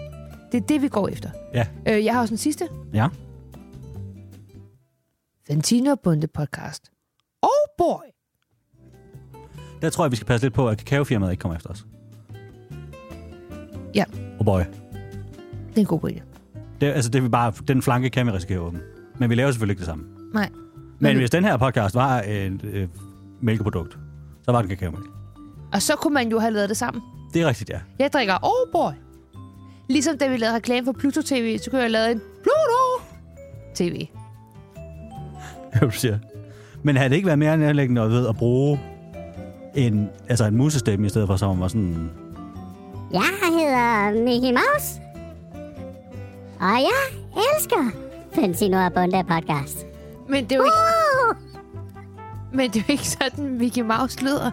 [SPEAKER 3] Det er det, vi går efter.
[SPEAKER 2] Ja.
[SPEAKER 3] Øh, jeg har også en sidste.
[SPEAKER 2] Ja.
[SPEAKER 3] Fantino Bunde podcast. Oh boy!
[SPEAKER 2] Der tror jeg, vi skal passe lidt på, at kakaofirmaet ikke kommer efter os.
[SPEAKER 3] Ja,
[SPEAKER 2] Oh boy.
[SPEAKER 3] det er en god pointe.
[SPEAKER 2] Det, altså, det er vi bare, den flanke kan vi risikere at åbne. Men vi laver selvfølgelig ikke det samme.
[SPEAKER 3] Nej.
[SPEAKER 2] Men
[SPEAKER 3] Men-
[SPEAKER 2] hvis den her podcast var et øh, mælkeprodukt, så var den kakaomælk.
[SPEAKER 3] Og så kunne man jo have lavet det sammen.
[SPEAKER 2] Det er rigtigt, ja.
[SPEAKER 3] Jeg drikker oh boy. Ligesom da vi lavede reklame for Pluto TV, så kunne jeg have lavet en Pluto TV.
[SPEAKER 2] Hvad du siger. Men havde det ikke været mere nærlæggende at, ved at bruge en, altså en musestemme i stedet for, som var sådan...
[SPEAKER 4] Jeg hedder Mickey Mouse. Og jeg elsker Fantino og Bunda podcast.
[SPEAKER 3] Men det er jo ikke,
[SPEAKER 4] Uh!
[SPEAKER 3] men det er jo ikke sådan, Mickey Mouse lyder.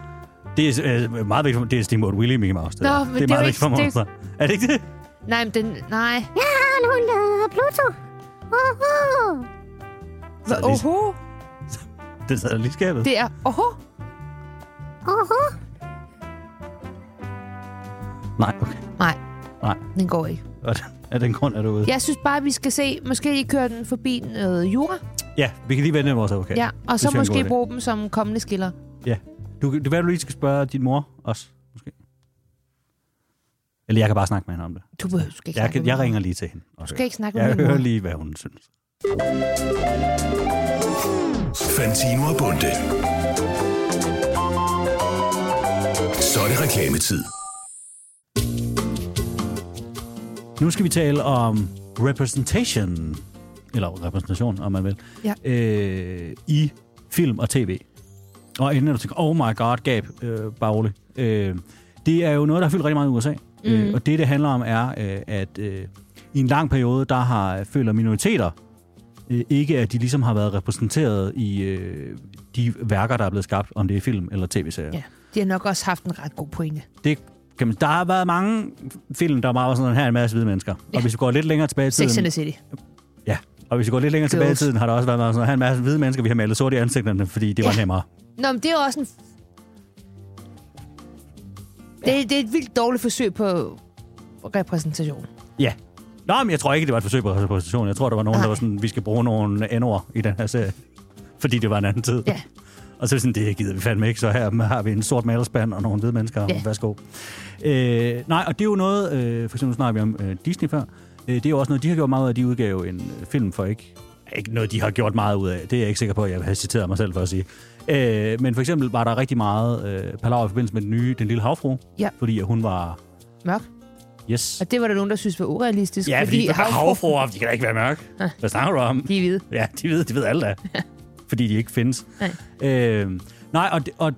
[SPEAKER 2] Det er øh, meget vigtigt for mig. Det er Steamboat Willie Mickey Mouse. Det,
[SPEAKER 3] Nå,
[SPEAKER 2] der. det
[SPEAKER 3] men
[SPEAKER 2] er
[SPEAKER 3] det er
[SPEAKER 2] meget
[SPEAKER 3] jo
[SPEAKER 2] vigtigt for mig.
[SPEAKER 3] ikke-
[SPEAKER 2] Det... Er det ikke det?
[SPEAKER 3] Nej, men den, nej.
[SPEAKER 4] Jeg har en hund, der hedder Pluto. Uh-huh.
[SPEAKER 2] Så er det-
[SPEAKER 3] Oho,
[SPEAKER 2] Det sad lige i skabet. Det...
[SPEAKER 3] det er oho.
[SPEAKER 4] Uh-huh.
[SPEAKER 2] Nej, okay.
[SPEAKER 3] Nej,
[SPEAKER 2] Nej.
[SPEAKER 3] den går ikke.
[SPEAKER 2] Godt. Af den grund er du ude.
[SPEAKER 3] Jeg synes bare, vi skal se, måske lige køre den forbi noget jura.
[SPEAKER 2] ja, vi kan lige vende med vores advokat.
[SPEAKER 3] Ja, og
[SPEAKER 2] Det
[SPEAKER 3] så
[SPEAKER 2] synes jeg er en god
[SPEAKER 3] måske
[SPEAKER 2] idé.
[SPEAKER 3] bruge dem som kommende skiller.
[SPEAKER 2] Ja. Du, det er du lige skal spørge din mor også, måske. Eller jeg kan bare snakke med hende om det.
[SPEAKER 3] Du behøver skal ikke
[SPEAKER 2] Jeg,
[SPEAKER 3] snakke
[SPEAKER 2] kan,
[SPEAKER 3] med
[SPEAKER 2] jeg
[SPEAKER 3] mig.
[SPEAKER 2] ringer lige til hende. Du
[SPEAKER 3] skal ikke snakke med
[SPEAKER 2] Jeg
[SPEAKER 3] min mor.
[SPEAKER 2] hører lige, hvad hun synes.
[SPEAKER 1] Fantino og Bunde. Så er det reklametid.
[SPEAKER 2] Nu skal vi tale om representation, eller repræsentation, om man vil,
[SPEAKER 3] Ja.
[SPEAKER 2] øh, i film og tv. Og inden du tænker, oh my god, gab, øh, bare rolig. Øh, det er jo noget, der har fyldt rigtig meget i USA. Mm. Øh, og det, det handler om, er, øh, at øh, i en lang periode, der har føler minoriteter øh, ikke, at de ligesom har været repræsenteret i øh, de værker, der er blevet skabt, om det er film eller tv-serier.
[SPEAKER 3] Ja. De har nok også haft en ret god pointe.
[SPEAKER 2] Det kan man, der har været mange film, der bare var sådan, her er en masse hvide mennesker. Ja. Og hvis vi går lidt længere tilbage i
[SPEAKER 3] Sex and
[SPEAKER 2] tiden...
[SPEAKER 3] the City.
[SPEAKER 2] Ja, og hvis vi går lidt længere tilbage i
[SPEAKER 3] Girls.
[SPEAKER 2] tiden, har der også været meget sådan, her er en masse hvide mennesker, vi har malet sort i ansigterne, fordi det ja. var
[SPEAKER 3] Ja.
[SPEAKER 2] nemmere.
[SPEAKER 3] Nå, men det er jo også en... Det, det er et vildt dårligt forsøg på repræsentation.
[SPEAKER 2] Ja. Nå, men jeg tror ikke, det var et forsøg på repræsentation. Jeg tror, der var nogen, Nej.
[SPEAKER 3] Nej.
[SPEAKER 2] der var sådan, vi skal bruge nogle n-ord i den her serie. Fordi det var en anden tid.
[SPEAKER 3] Ja.
[SPEAKER 2] Og så er vi sådan, det gider vi fandme ikke, så her har vi en sort malerspand og nogle hvide mennesker. Ja.
[SPEAKER 3] Ja.
[SPEAKER 2] Værsgo. Øh, nej, og det er jo noget, øh, for eksempel nu snakker vi om øh, Disney før, øh, det er jo også noget, de har gjort meget ud af, de udgav en øh, film for ikke, ikke noget, de har gjort meget ud af. Det er jeg ikke sikker på, at jeg har citeret mig selv for at sige. Øh, men for eksempel var der rigtig meget øh, palaver i forbindelse med den nye Den Lille Havfru,
[SPEAKER 3] Ja.
[SPEAKER 2] fordi at hun var,
[SPEAKER 3] Mørk.
[SPEAKER 2] yes,
[SPEAKER 3] Og det var der nogen, der synes var urealistisk.
[SPEAKER 2] Ja, fordi, fordi
[SPEAKER 3] havfruer,
[SPEAKER 2] havfruer, de kan da ikke være mørke. Hvad snakker du om?
[SPEAKER 3] De er hvide.
[SPEAKER 2] Ja, de ved, de ved alle da. fordi de ikke findes.
[SPEAKER 3] Nej.
[SPEAKER 2] Øh, nej, og, det- og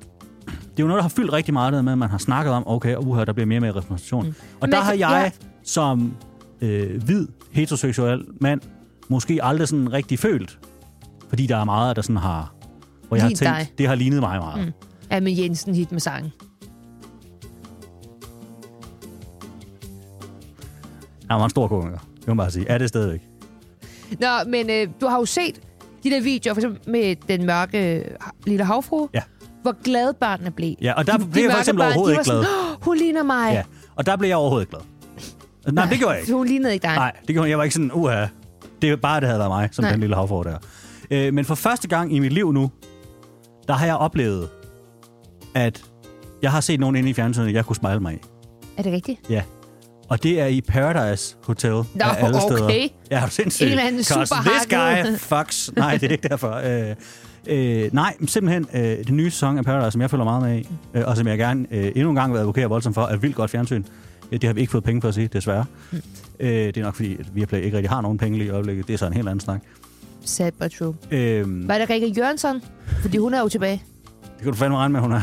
[SPEAKER 2] det er jo noget, der har fyldt rigtig meget det der med, at man har snakket om, okay, uha, der bliver mere og mere repræsentation. Mm. Og
[SPEAKER 3] Men
[SPEAKER 2] der
[SPEAKER 3] det-
[SPEAKER 2] har jeg
[SPEAKER 3] ja.
[SPEAKER 2] som øh, hvid, heteroseksuel mand måske aldrig sådan rigtig følt, fordi der er meget, der sådan har... Hvor jeg har
[SPEAKER 3] Lign
[SPEAKER 2] tænkt,
[SPEAKER 3] dig.
[SPEAKER 2] det har lignet mig meget. Mm.
[SPEAKER 3] Ja, men Jensen hit med sangen.
[SPEAKER 2] Han var en stor komiker. Det må man bare sige. Er det stadigvæk?
[SPEAKER 3] Nå, men øh, du har jo set de der videoer, for eksempel med den mørke øh, lille havfru.
[SPEAKER 2] Ja.
[SPEAKER 3] Hvor glade børnene blev.
[SPEAKER 2] Ja, og der
[SPEAKER 3] de,
[SPEAKER 2] blev jeg for
[SPEAKER 3] mørke
[SPEAKER 2] eksempel
[SPEAKER 3] børn,
[SPEAKER 2] overhovedet
[SPEAKER 3] de var
[SPEAKER 2] ikke glad.
[SPEAKER 3] Sådan, "Åh, hun ligner mig.
[SPEAKER 2] Ja. Og der blev jeg overhovedet ikke glad. Nej, det gjorde jeg ikke.
[SPEAKER 3] Hun lignede ikke dig.
[SPEAKER 2] Nej, det gjorde jeg. Jeg var ikke sådan, uha, det er bare, det havde været mig, som Nej.
[SPEAKER 3] Nej.
[SPEAKER 2] den lille havfru der. Øh, men for første gang i mit liv nu, der har jeg oplevet, at jeg har set nogen inde i fjernsynet, jeg kunne smile mig i.
[SPEAKER 3] Er det rigtigt?
[SPEAKER 2] Ja. Og det er i Paradise Hotel Nå, af alle
[SPEAKER 3] okay.
[SPEAKER 2] steder. Ja, er du sindssygt?
[SPEAKER 3] En eller anden
[SPEAKER 2] Cause this guy
[SPEAKER 3] superhakket.
[SPEAKER 2] fucks. Nej, det er ikke derfor. Øh, øh, nej, men simpelthen øh, den nye sæson af Paradise, som jeg følger meget med i, øh, og som jeg gerne øh, endnu en gang vil advokere voldsomt for, er et vildt godt fjernsyn. Øh, det har vi ikke fået penge for at sige, desværre. Øh, det er nok fordi, at Viaplay ikke rigtig har nogen penge lige i øjeblikket. Det er så en helt anden snak.
[SPEAKER 3] Sad but true.
[SPEAKER 2] Øh,
[SPEAKER 3] Var det Rikke Jørgensen? Fordi hun er jo tilbage.
[SPEAKER 2] det kan du fandme regne med, hun er.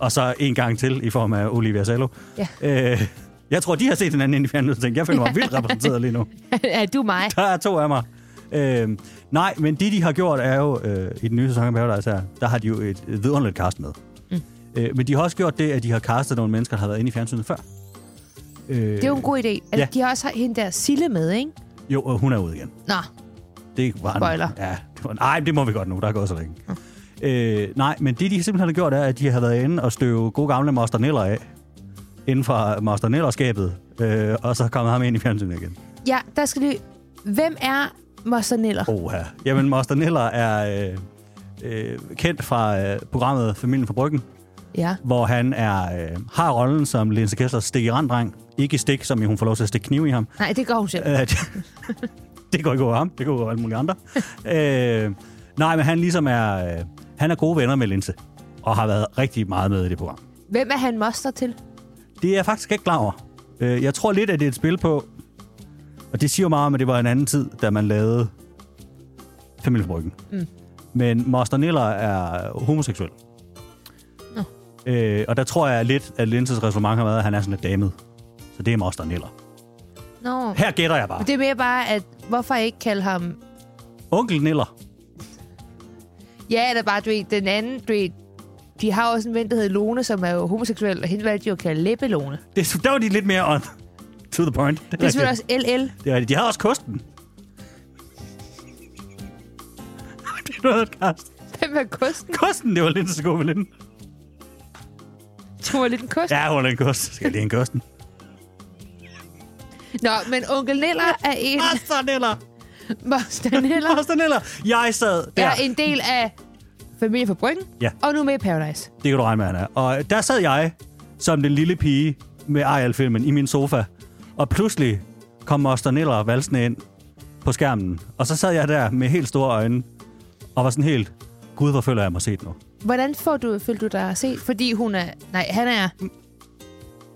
[SPEAKER 2] Og så en gang til i form af Olivia Salo.
[SPEAKER 3] Ja.
[SPEAKER 2] Øh, jeg tror, de har set hinanden inde i fjernsynet og tænkt, jeg føler mig vildt repræsenteret lige nu.
[SPEAKER 3] er du mig?
[SPEAKER 2] Der er to af mig. Øhm, nej, men det, de har gjort, er jo, øh, i den nye sæson af Paradise her, altså, der har de jo et, et vidunderligt cast med. Mm. Øh, men de har også gjort det, at de har castet nogle mennesker, der har været inde i fjernsynet før. Øh,
[SPEAKER 3] Det er jo en god idé. Altså,
[SPEAKER 2] ja.
[SPEAKER 3] De har også hende der Sille med, ikke?
[SPEAKER 2] Jo, og hun er ude igen.
[SPEAKER 3] Nå,
[SPEAKER 2] Det var en,
[SPEAKER 3] Spoiler.
[SPEAKER 2] Ja, det var, nej, det må vi godt nu, der er gået så længe. Mm. Øh, nej, men det, de simpelthen har gjort, er, at de har været inde og støve gode gamle Master Neller af, inden for Master Neller-skabet, øh, og så kommer ham ind i fjernsynet igen.
[SPEAKER 3] ja, der skal lige... Hvem er Mosterneller?
[SPEAKER 2] Oha. Jamen, Moster Neller er øh, øh, kendt fra øh, programmet Familien fra Bryggen,
[SPEAKER 3] Ja.
[SPEAKER 2] hvor han er, øh, har rollen som Linse Kesslers stik i randdreng. Ikke stik, som i hun får lov til at stikke kniv i ham.
[SPEAKER 3] Nej, det gør hun selv.
[SPEAKER 2] Øh, det, det går ikke over ham, det går over alle mulige andre. øh, nej, men han ligesom er, øh, han er gode venner med Linse, og har været rigtig meget med i det program.
[SPEAKER 3] Hvem er han moster til?
[SPEAKER 2] Det er jeg faktisk ikke klar over. Øh, jeg tror lidt, at det er et spil på, og det siger jo meget om, at det var en anden tid, da man lavede Familiebryggen. Mm. Men Moster Niller er homoseksuel. Øh, og der tror jeg lidt, at Linses resonemang har været, at han er sådan lidt damet. Så det er Moster Niller.
[SPEAKER 3] Nå.
[SPEAKER 2] Her gætter jeg bare.
[SPEAKER 3] Det er mere bare, at hvorfor ikke kalde ham...
[SPEAKER 2] Onkel Niller.
[SPEAKER 3] Ja, eller bare, du ved, den anden, du ved, de har også en ven, der hedder Lone, som er jo homoseksuel, og hende valgte de jo at kalde Leppe Lone.
[SPEAKER 2] Det, der var de lidt mere on to the point. Det er,
[SPEAKER 3] Det er selvfølgelig
[SPEAKER 2] rigtigt.
[SPEAKER 3] også LL.
[SPEAKER 2] Det er rigtigt. De havde også kosten. det er noget af et kast.
[SPEAKER 3] Hvem er kosten?
[SPEAKER 2] Kosten, det var Linses gode veninde.
[SPEAKER 3] Du var lidt en kost. Ja.
[SPEAKER 2] Ja, hun er en kost. Skal jeg lige en kosten?
[SPEAKER 3] Nå, men onkel Neller er en...
[SPEAKER 2] Moster Niller.
[SPEAKER 3] Moster Neller
[SPEAKER 2] Moster Niller. Jeg sad der.
[SPEAKER 3] er en del af Familie for Bryggen,
[SPEAKER 2] Ja.
[SPEAKER 3] og nu med i Paradise.
[SPEAKER 2] Det kan du regne med, han er. Og der sad jeg som den lille pige med Ariel-filmen i min sofa. Og pludselig kom Moster Niller valsende ind på skærmen. Og så sad jeg der med helt store øjne og var sådan helt... Gud, hvor føler jeg mig set nu?
[SPEAKER 3] Hvordan får du, følte du dig set? Fordi hun er... Nej, han er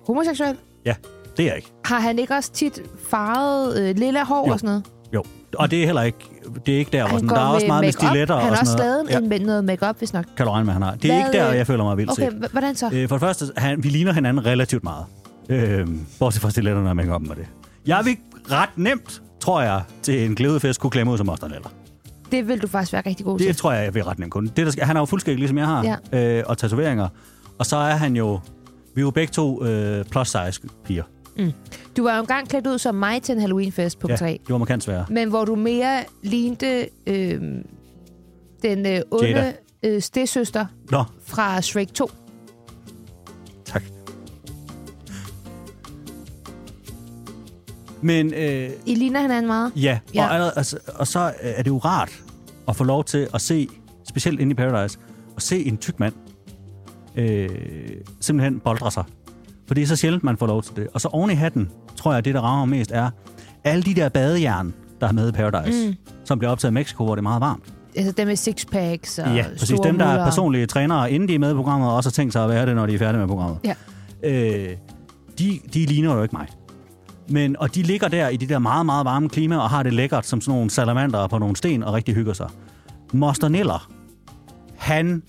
[SPEAKER 3] homoseksuel.
[SPEAKER 2] Ja, det er jeg ikke.
[SPEAKER 3] Har han ikke også tit farvet øh, lilla hår
[SPEAKER 2] Jo.
[SPEAKER 3] og sådan noget?
[SPEAKER 2] Jo, og det er heller ikke... Det er ikke der, hvor
[SPEAKER 3] han
[SPEAKER 2] sådan, der er også meget med
[SPEAKER 3] make-up.
[SPEAKER 2] stiletter og
[SPEAKER 3] Han har
[SPEAKER 2] sådan
[SPEAKER 3] også
[SPEAKER 2] noget.
[SPEAKER 3] lavet en- noget makeup hvis nok.
[SPEAKER 2] kan du regne med, han har. Det er
[SPEAKER 3] Hvad,
[SPEAKER 2] ikke der,
[SPEAKER 3] øh,
[SPEAKER 2] jeg føler mig vildt set.
[SPEAKER 3] Okay, h- hvordan så?
[SPEAKER 2] Øh, for det første, han, vi ligner hinanden relativt meget. Øh, bortset fra stiletterne, når man om med det. Jeg vil ret nemt, tror jeg, til en glædefest kunne klemme ud som mosterneller.
[SPEAKER 3] Det vil du faktisk være rigtig god
[SPEAKER 2] Det
[SPEAKER 3] til.
[SPEAKER 2] tror jeg, jeg vil ret nemt kunne. Det, der skal, han er jo fuldstændig ligesom jeg har, ja. øh, og tatoveringer. Og så er han jo... Vi er jo begge to øh, plus size piger.
[SPEAKER 3] Du var jo engang klædt ud som mig til en Halloweenfest på ja. 3.
[SPEAKER 2] det var markant sværere.
[SPEAKER 3] Men hvor du mere lignede øh, den øh,
[SPEAKER 2] Jada.
[SPEAKER 3] onde øh, stedsøster
[SPEAKER 2] Nå,
[SPEAKER 3] fra Shrek 2.
[SPEAKER 2] tak. Men øh,
[SPEAKER 3] I ligner hinanden meget.
[SPEAKER 2] Ja, ja.
[SPEAKER 3] Ja.
[SPEAKER 2] Og, allerede, altså, og så øh, er det jo rart at få lov til at se, specielt inde i Paradise, at se en tyk mand øh, simpelthen boldre sig. For det er så sjældent, man får lov til det. Og så oven i hatten, tror jeg, det, der rammer mest, er alle de der badejern, der er med i Paradise, mm. som bliver optaget i Mexico, hvor det er meget varmt.
[SPEAKER 3] Altså dem med sixpacks og
[SPEAKER 2] Ja, præcis. Dem, der er personlige trænere, inden de er med i programmet, og også har tænkt sig at være det, når de er færdige med programmet.
[SPEAKER 3] Ja.
[SPEAKER 2] Øh, de, de ligner jo ikke mig. Men, og de ligger der i de der meget, meget varme klima, og har det lækkert som sådan nogle salamander på nogle sten, og rigtig hygger sig. Moster Niller, han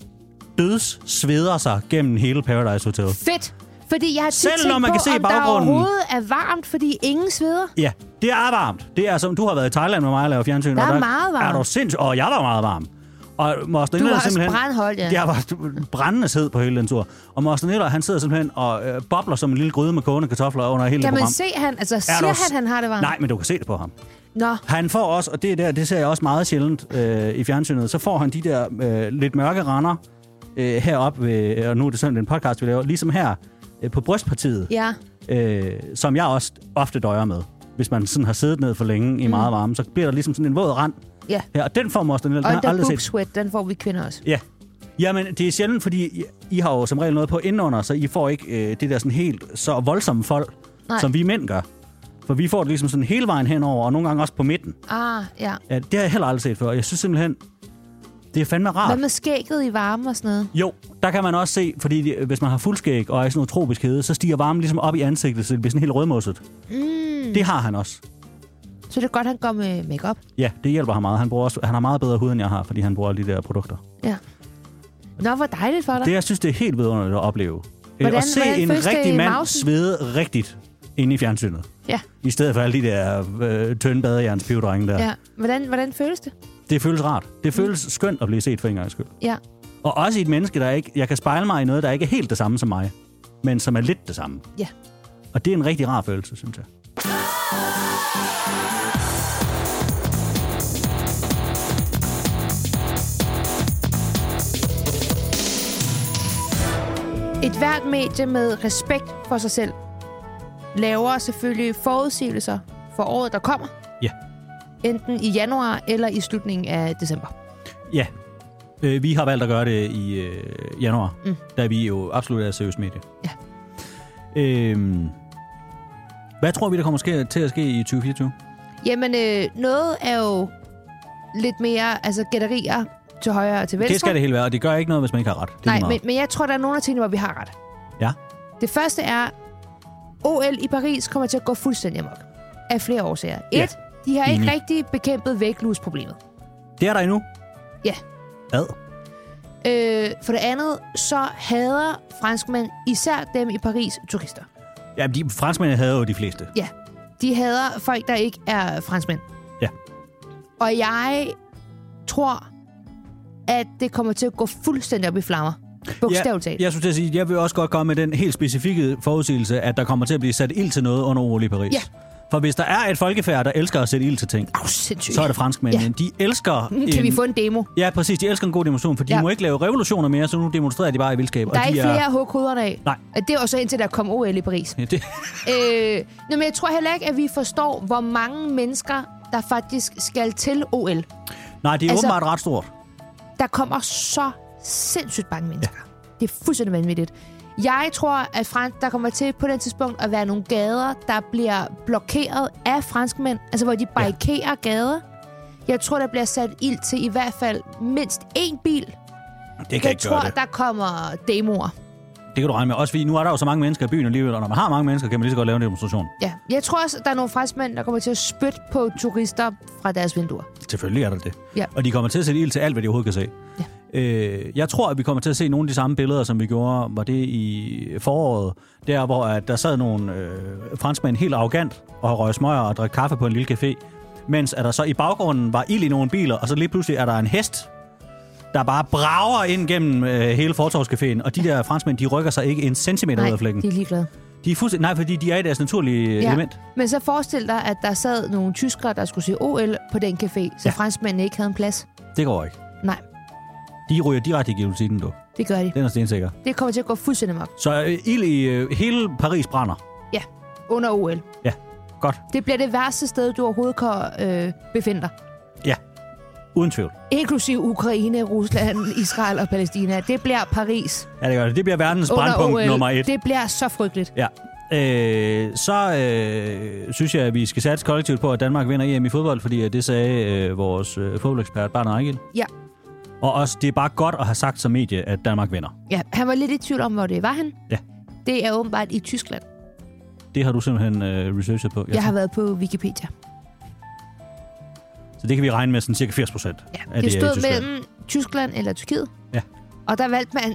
[SPEAKER 2] døds sveder sig gennem hele Paradise Hotel.
[SPEAKER 3] Fedt! Fordi jeg har tit
[SPEAKER 2] Selv
[SPEAKER 3] tænkt
[SPEAKER 2] når man
[SPEAKER 3] på,
[SPEAKER 2] kan se
[SPEAKER 3] om der
[SPEAKER 2] baggrunden.
[SPEAKER 3] overhovedet er varmt, fordi ingen sveder.
[SPEAKER 2] Ja, det er varmt. Det er som, du har været i Thailand med mig og lavet fjernsyn.
[SPEAKER 3] Der
[SPEAKER 2] og
[SPEAKER 3] er meget varmt.
[SPEAKER 2] Er du sindssygt? Og jeg var meget varm. Og Moster
[SPEAKER 3] Du
[SPEAKER 2] Niller
[SPEAKER 3] har
[SPEAKER 2] er
[SPEAKER 3] også
[SPEAKER 2] simpelthen...
[SPEAKER 3] brandhold, ja.
[SPEAKER 2] Jeg var brændende sid på hele den tur. Og Moster Niller, han sidder simpelthen og øh, bobler som en lille gryde med kogende kartofler under hele det
[SPEAKER 3] Kan man
[SPEAKER 2] program.
[SPEAKER 3] se, han, altså,
[SPEAKER 2] Er
[SPEAKER 3] siger
[SPEAKER 2] du
[SPEAKER 3] han,
[SPEAKER 2] s-
[SPEAKER 3] han har det varmt?
[SPEAKER 2] Nej, men du kan se det på ham.
[SPEAKER 3] Nå,
[SPEAKER 2] Han får også, og det er der, det ser jeg også meget sjældent øh, i fjernsynet, så får han de der øh, lidt mørke render øh, heroppe, ved, og nu er det sådan en podcast, vi laver, ligesom her øh, på brystpartiet,
[SPEAKER 3] ja.
[SPEAKER 2] øh, som jeg også ofte døjer med. Hvis man sådan har siddet ned for længe i
[SPEAKER 3] Mm.
[SPEAKER 2] meget varme, så bliver der ligesom sådan en våd rand
[SPEAKER 3] ja.
[SPEAKER 2] her, og den får man også, den, den
[SPEAKER 3] Og
[SPEAKER 2] har jeg
[SPEAKER 3] der
[SPEAKER 2] aldrig
[SPEAKER 3] boob
[SPEAKER 2] set.
[SPEAKER 3] sweat, den får vi kvinder også.
[SPEAKER 2] Ja. Jamen, det er sjældent, fordi I, I har jo som regel noget på indenunder, så I får ikke øh, det der sådan helt så voldsomme folk,
[SPEAKER 3] Nej.
[SPEAKER 2] som vi mænd gør. For vi får det ligesom sådan hele vejen henover, og nogle gange også på midten.
[SPEAKER 3] Ah, ja.
[SPEAKER 2] Ja, det har jeg heller aldrig set før. Jeg synes simpelthen, det er fandme rart.
[SPEAKER 3] Hvad med skægget i varme og sådan noget?
[SPEAKER 2] Jo, der kan man også se, fordi de- hvis man har fuldskæg og er i sådan noget tropisk hede, så stiger varmen ligesom op i ansigtet, så det bliver sådan helt rødmosset. Mm. Det har han også.
[SPEAKER 3] Så det er godt, han går med makeup.
[SPEAKER 2] Ja, det hjælper ham meget. Han, bruger også, han har meget bedre hud, end jeg har, fordi han bruger alle de der produkter.
[SPEAKER 3] Ja. Nå, hvor dejligt for dig.
[SPEAKER 2] Det, jeg synes, det er helt vidunderligt at opleve.
[SPEAKER 3] Hvordan-
[SPEAKER 2] Hvordan, at se
[SPEAKER 3] hvordan
[SPEAKER 2] en
[SPEAKER 3] føles det i
[SPEAKER 2] rigtig mand
[SPEAKER 3] mausen?
[SPEAKER 2] svede rigtigt inde i fjernsynet.
[SPEAKER 3] Ja,
[SPEAKER 2] I stedet for alle de der øh, tynde badejernspivdrenge der.
[SPEAKER 3] ja. Mm. Hvordan, hvordan føles det?
[SPEAKER 2] Det føles rart. Det føles skønt at blive set for en gang skyld.
[SPEAKER 3] Ja.
[SPEAKER 2] Og også i et menneske, der ikke... Jeg kan spejle mig i noget, der ikke er helt det samme som mig, men som er lidt det samme.
[SPEAKER 3] Ja.
[SPEAKER 2] Og det er en rigtig rar følelse, synes jeg.
[SPEAKER 3] Et hvert medie med respekt for sig selv laver selvfølgelig forudsigelser for året, der kommer.
[SPEAKER 2] Ja.
[SPEAKER 3] Enten i januar eller i slutningen af december.
[SPEAKER 2] Ja. Øh, vi har valgt at gøre det i øh, januar, mm. da vi jo absolut er seriøst medie.
[SPEAKER 3] Ja.
[SPEAKER 2] Øhm, hvad tror vi, der kommer ske, til at ske i 2024?
[SPEAKER 3] Jamen, øh, noget er jo lidt mere altså gætterier til højre og til venstre.
[SPEAKER 2] Det skal det hele være, og det gør ikke noget, hvis man ikke har ret. Det er lige
[SPEAKER 3] Nej, men,
[SPEAKER 2] meget.
[SPEAKER 3] men jeg tror, der er nogle af tingene, hvor vi har ret.
[SPEAKER 2] Ja.
[SPEAKER 3] Det første er, OL i Paris kommer til at gå fuldstændig amok. Af flere årsager. Et,
[SPEAKER 2] Ja.
[SPEAKER 3] de har ikke
[SPEAKER 2] Enig.
[SPEAKER 3] rigtig bekæmpet vægtlusproblemet.
[SPEAKER 2] Det er der endnu.
[SPEAKER 3] Ja.
[SPEAKER 2] Ad.
[SPEAKER 3] Øh, for det andet, så hader franskmænd, især dem i Paris, turister.
[SPEAKER 2] Ja, de franskmændene havde jo de fleste.
[SPEAKER 3] Ja. De hader folk, der ikke er franskmænd.
[SPEAKER 2] Ja.
[SPEAKER 3] Og jeg tror, at det kommer til at gå fuldstændig op i flammer. Bogstaveligt talt.
[SPEAKER 2] Ja, jeg skulle til at sige, jeg vil også godt komme med den helt specifikke forudsigelse, at der kommer til at blive sat ild til noget under OL i Paris.
[SPEAKER 3] Ja.
[SPEAKER 2] For hvis der er et folkefærd, der elsker at sætte ild til ting,
[SPEAKER 3] Au, sindssygt.
[SPEAKER 2] så er det franskmændene.
[SPEAKER 3] Ja.
[SPEAKER 2] Ja. De elsker...
[SPEAKER 3] Kan vi få en demo?
[SPEAKER 2] Ja, præcis. De elsker en god demonstration, for de
[SPEAKER 3] Ja.
[SPEAKER 2] ja. må ikke lave revolutioner mere, så nu demonstrerer de bare i vildskab.
[SPEAKER 3] Der er
[SPEAKER 2] og de
[SPEAKER 3] ikke flere at hugge hovederne af.
[SPEAKER 2] Nej.
[SPEAKER 3] Og Det er også indtil der kom OL i Paris.
[SPEAKER 2] Ja, det,
[SPEAKER 3] øh, nå, men jeg tror heller ikke, at vi forstår, hvor mange mennesker, der faktisk skal til OL.
[SPEAKER 2] nej, det er
[SPEAKER 3] Altså-
[SPEAKER 2] altså, åbenbart ret stort.
[SPEAKER 3] Der kommer så sindssygt mange mennesker. Ja. Det er fuldstændig vanvittigt. Jeg tror, at Frans, der kommer til på det tidspunkt at være nogle gader, der bliver blokeret af franskmænd. Altså, hvor de barrikerer ja. gader. Jeg tror, der bliver sat ild til i hvert fald mindst én bil.
[SPEAKER 2] Det kan
[SPEAKER 3] jeg
[SPEAKER 2] ikke
[SPEAKER 3] tror,
[SPEAKER 2] gøre det.
[SPEAKER 3] der kommer demoer.
[SPEAKER 2] Det kan du regne med. Også fordi nu er der jo så mange mennesker i byen alligevel, og når man har mange mennesker, kan man lige så godt lave en demonstration.
[SPEAKER 3] Ja, jeg tror også, at der er nogle franskmænd, der kommer til at spytte på turister fra deres vinduer.
[SPEAKER 2] Selvfølgelig er der det.
[SPEAKER 3] Ja.
[SPEAKER 2] Og de kommer til at sætte ild til alt, hvad de overhovedet kan se. Øh, jeg tror, at vi kommer til at se nogle af de samme billeder, som vi gjorde, var det i foråret, der hvor at der sad nogle øh, franskmænd helt arrogant og røg smøger og drak kaffe på en lille café, mens at der så i baggrunden var ild i nogle biler, og så lige pludselig er der en hest, der bare brager ind gennem øh, hele Fortorvscaféen, og de der franskmænd, de rykker sig ikke en centimeter ud af flækken.
[SPEAKER 3] de er ligeglade.
[SPEAKER 2] De er fuldstændig... Nej, fordi de er i deres naturlige ja. element.
[SPEAKER 3] Men så forestil dig, at der sad nogle tyskere, der skulle se OL på den café, så
[SPEAKER 2] Ja.
[SPEAKER 3] ja. franskmændene ikke havde en plads.
[SPEAKER 2] Det går ikke.
[SPEAKER 3] Nej,
[SPEAKER 2] De ryger direkte i guillotinen, du.
[SPEAKER 3] det gør de.
[SPEAKER 2] Den er stensikker.
[SPEAKER 3] Det kommer til at gå fuldstændig mok
[SPEAKER 2] Så øh, ild i øh, hele Paris brænder.
[SPEAKER 3] Ja, under OL.
[SPEAKER 2] Ja, godt.
[SPEAKER 3] Det bliver det værste sted, du overhovedet kan øh, befinde dig.
[SPEAKER 2] Ja, uden tvivl.
[SPEAKER 3] Inklusiv Ukraine, Rusland, Israel og Palæstina. Det bliver Paris
[SPEAKER 2] Ja, det gør det. Det bliver verdens
[SPEAKER 3] under
[SPEAKER 2] brandpunkt
[SPEAKER 3] OL.
[SPEAKER 2] nummer et.
[SPEAKER 3] Det bliver så frygteligt.
[SPEAKER 2] Ja. Øh, så øh, synes jeg, at vi skal satse kollektivt på, at Danmark vinder EM i fodbold, fordi øh, det sagde øh, vores øh, fodboldekspert, Barne Ejgil.
[SPEAKER 3] Ja.
[SPEAKER 2] Og også, det er bare godt at have sagt som medie, at Danmark vinder.
[SPEAKER 3] ja, han var lidt i tvivl om, hvor det var han.
[SPEAKER 2] Ja.
[SPEAKER 3] Det er åbenbart i Tyskland. Jeg,
[SPEAKER 2] Det har du simpelthen øh, researchet på.
[SPEAKER 3] jeg har været på Wikipedia.
[SPEAKER 2] Så det kan vi regne med sådan cirka 80 procent.
[SPEAKER 3] Ja, det, det stod mellem Tyskland eller Tyrkiet.
[SPEAKER 2] Ja.
[SPEAKER 3] Og der valgte man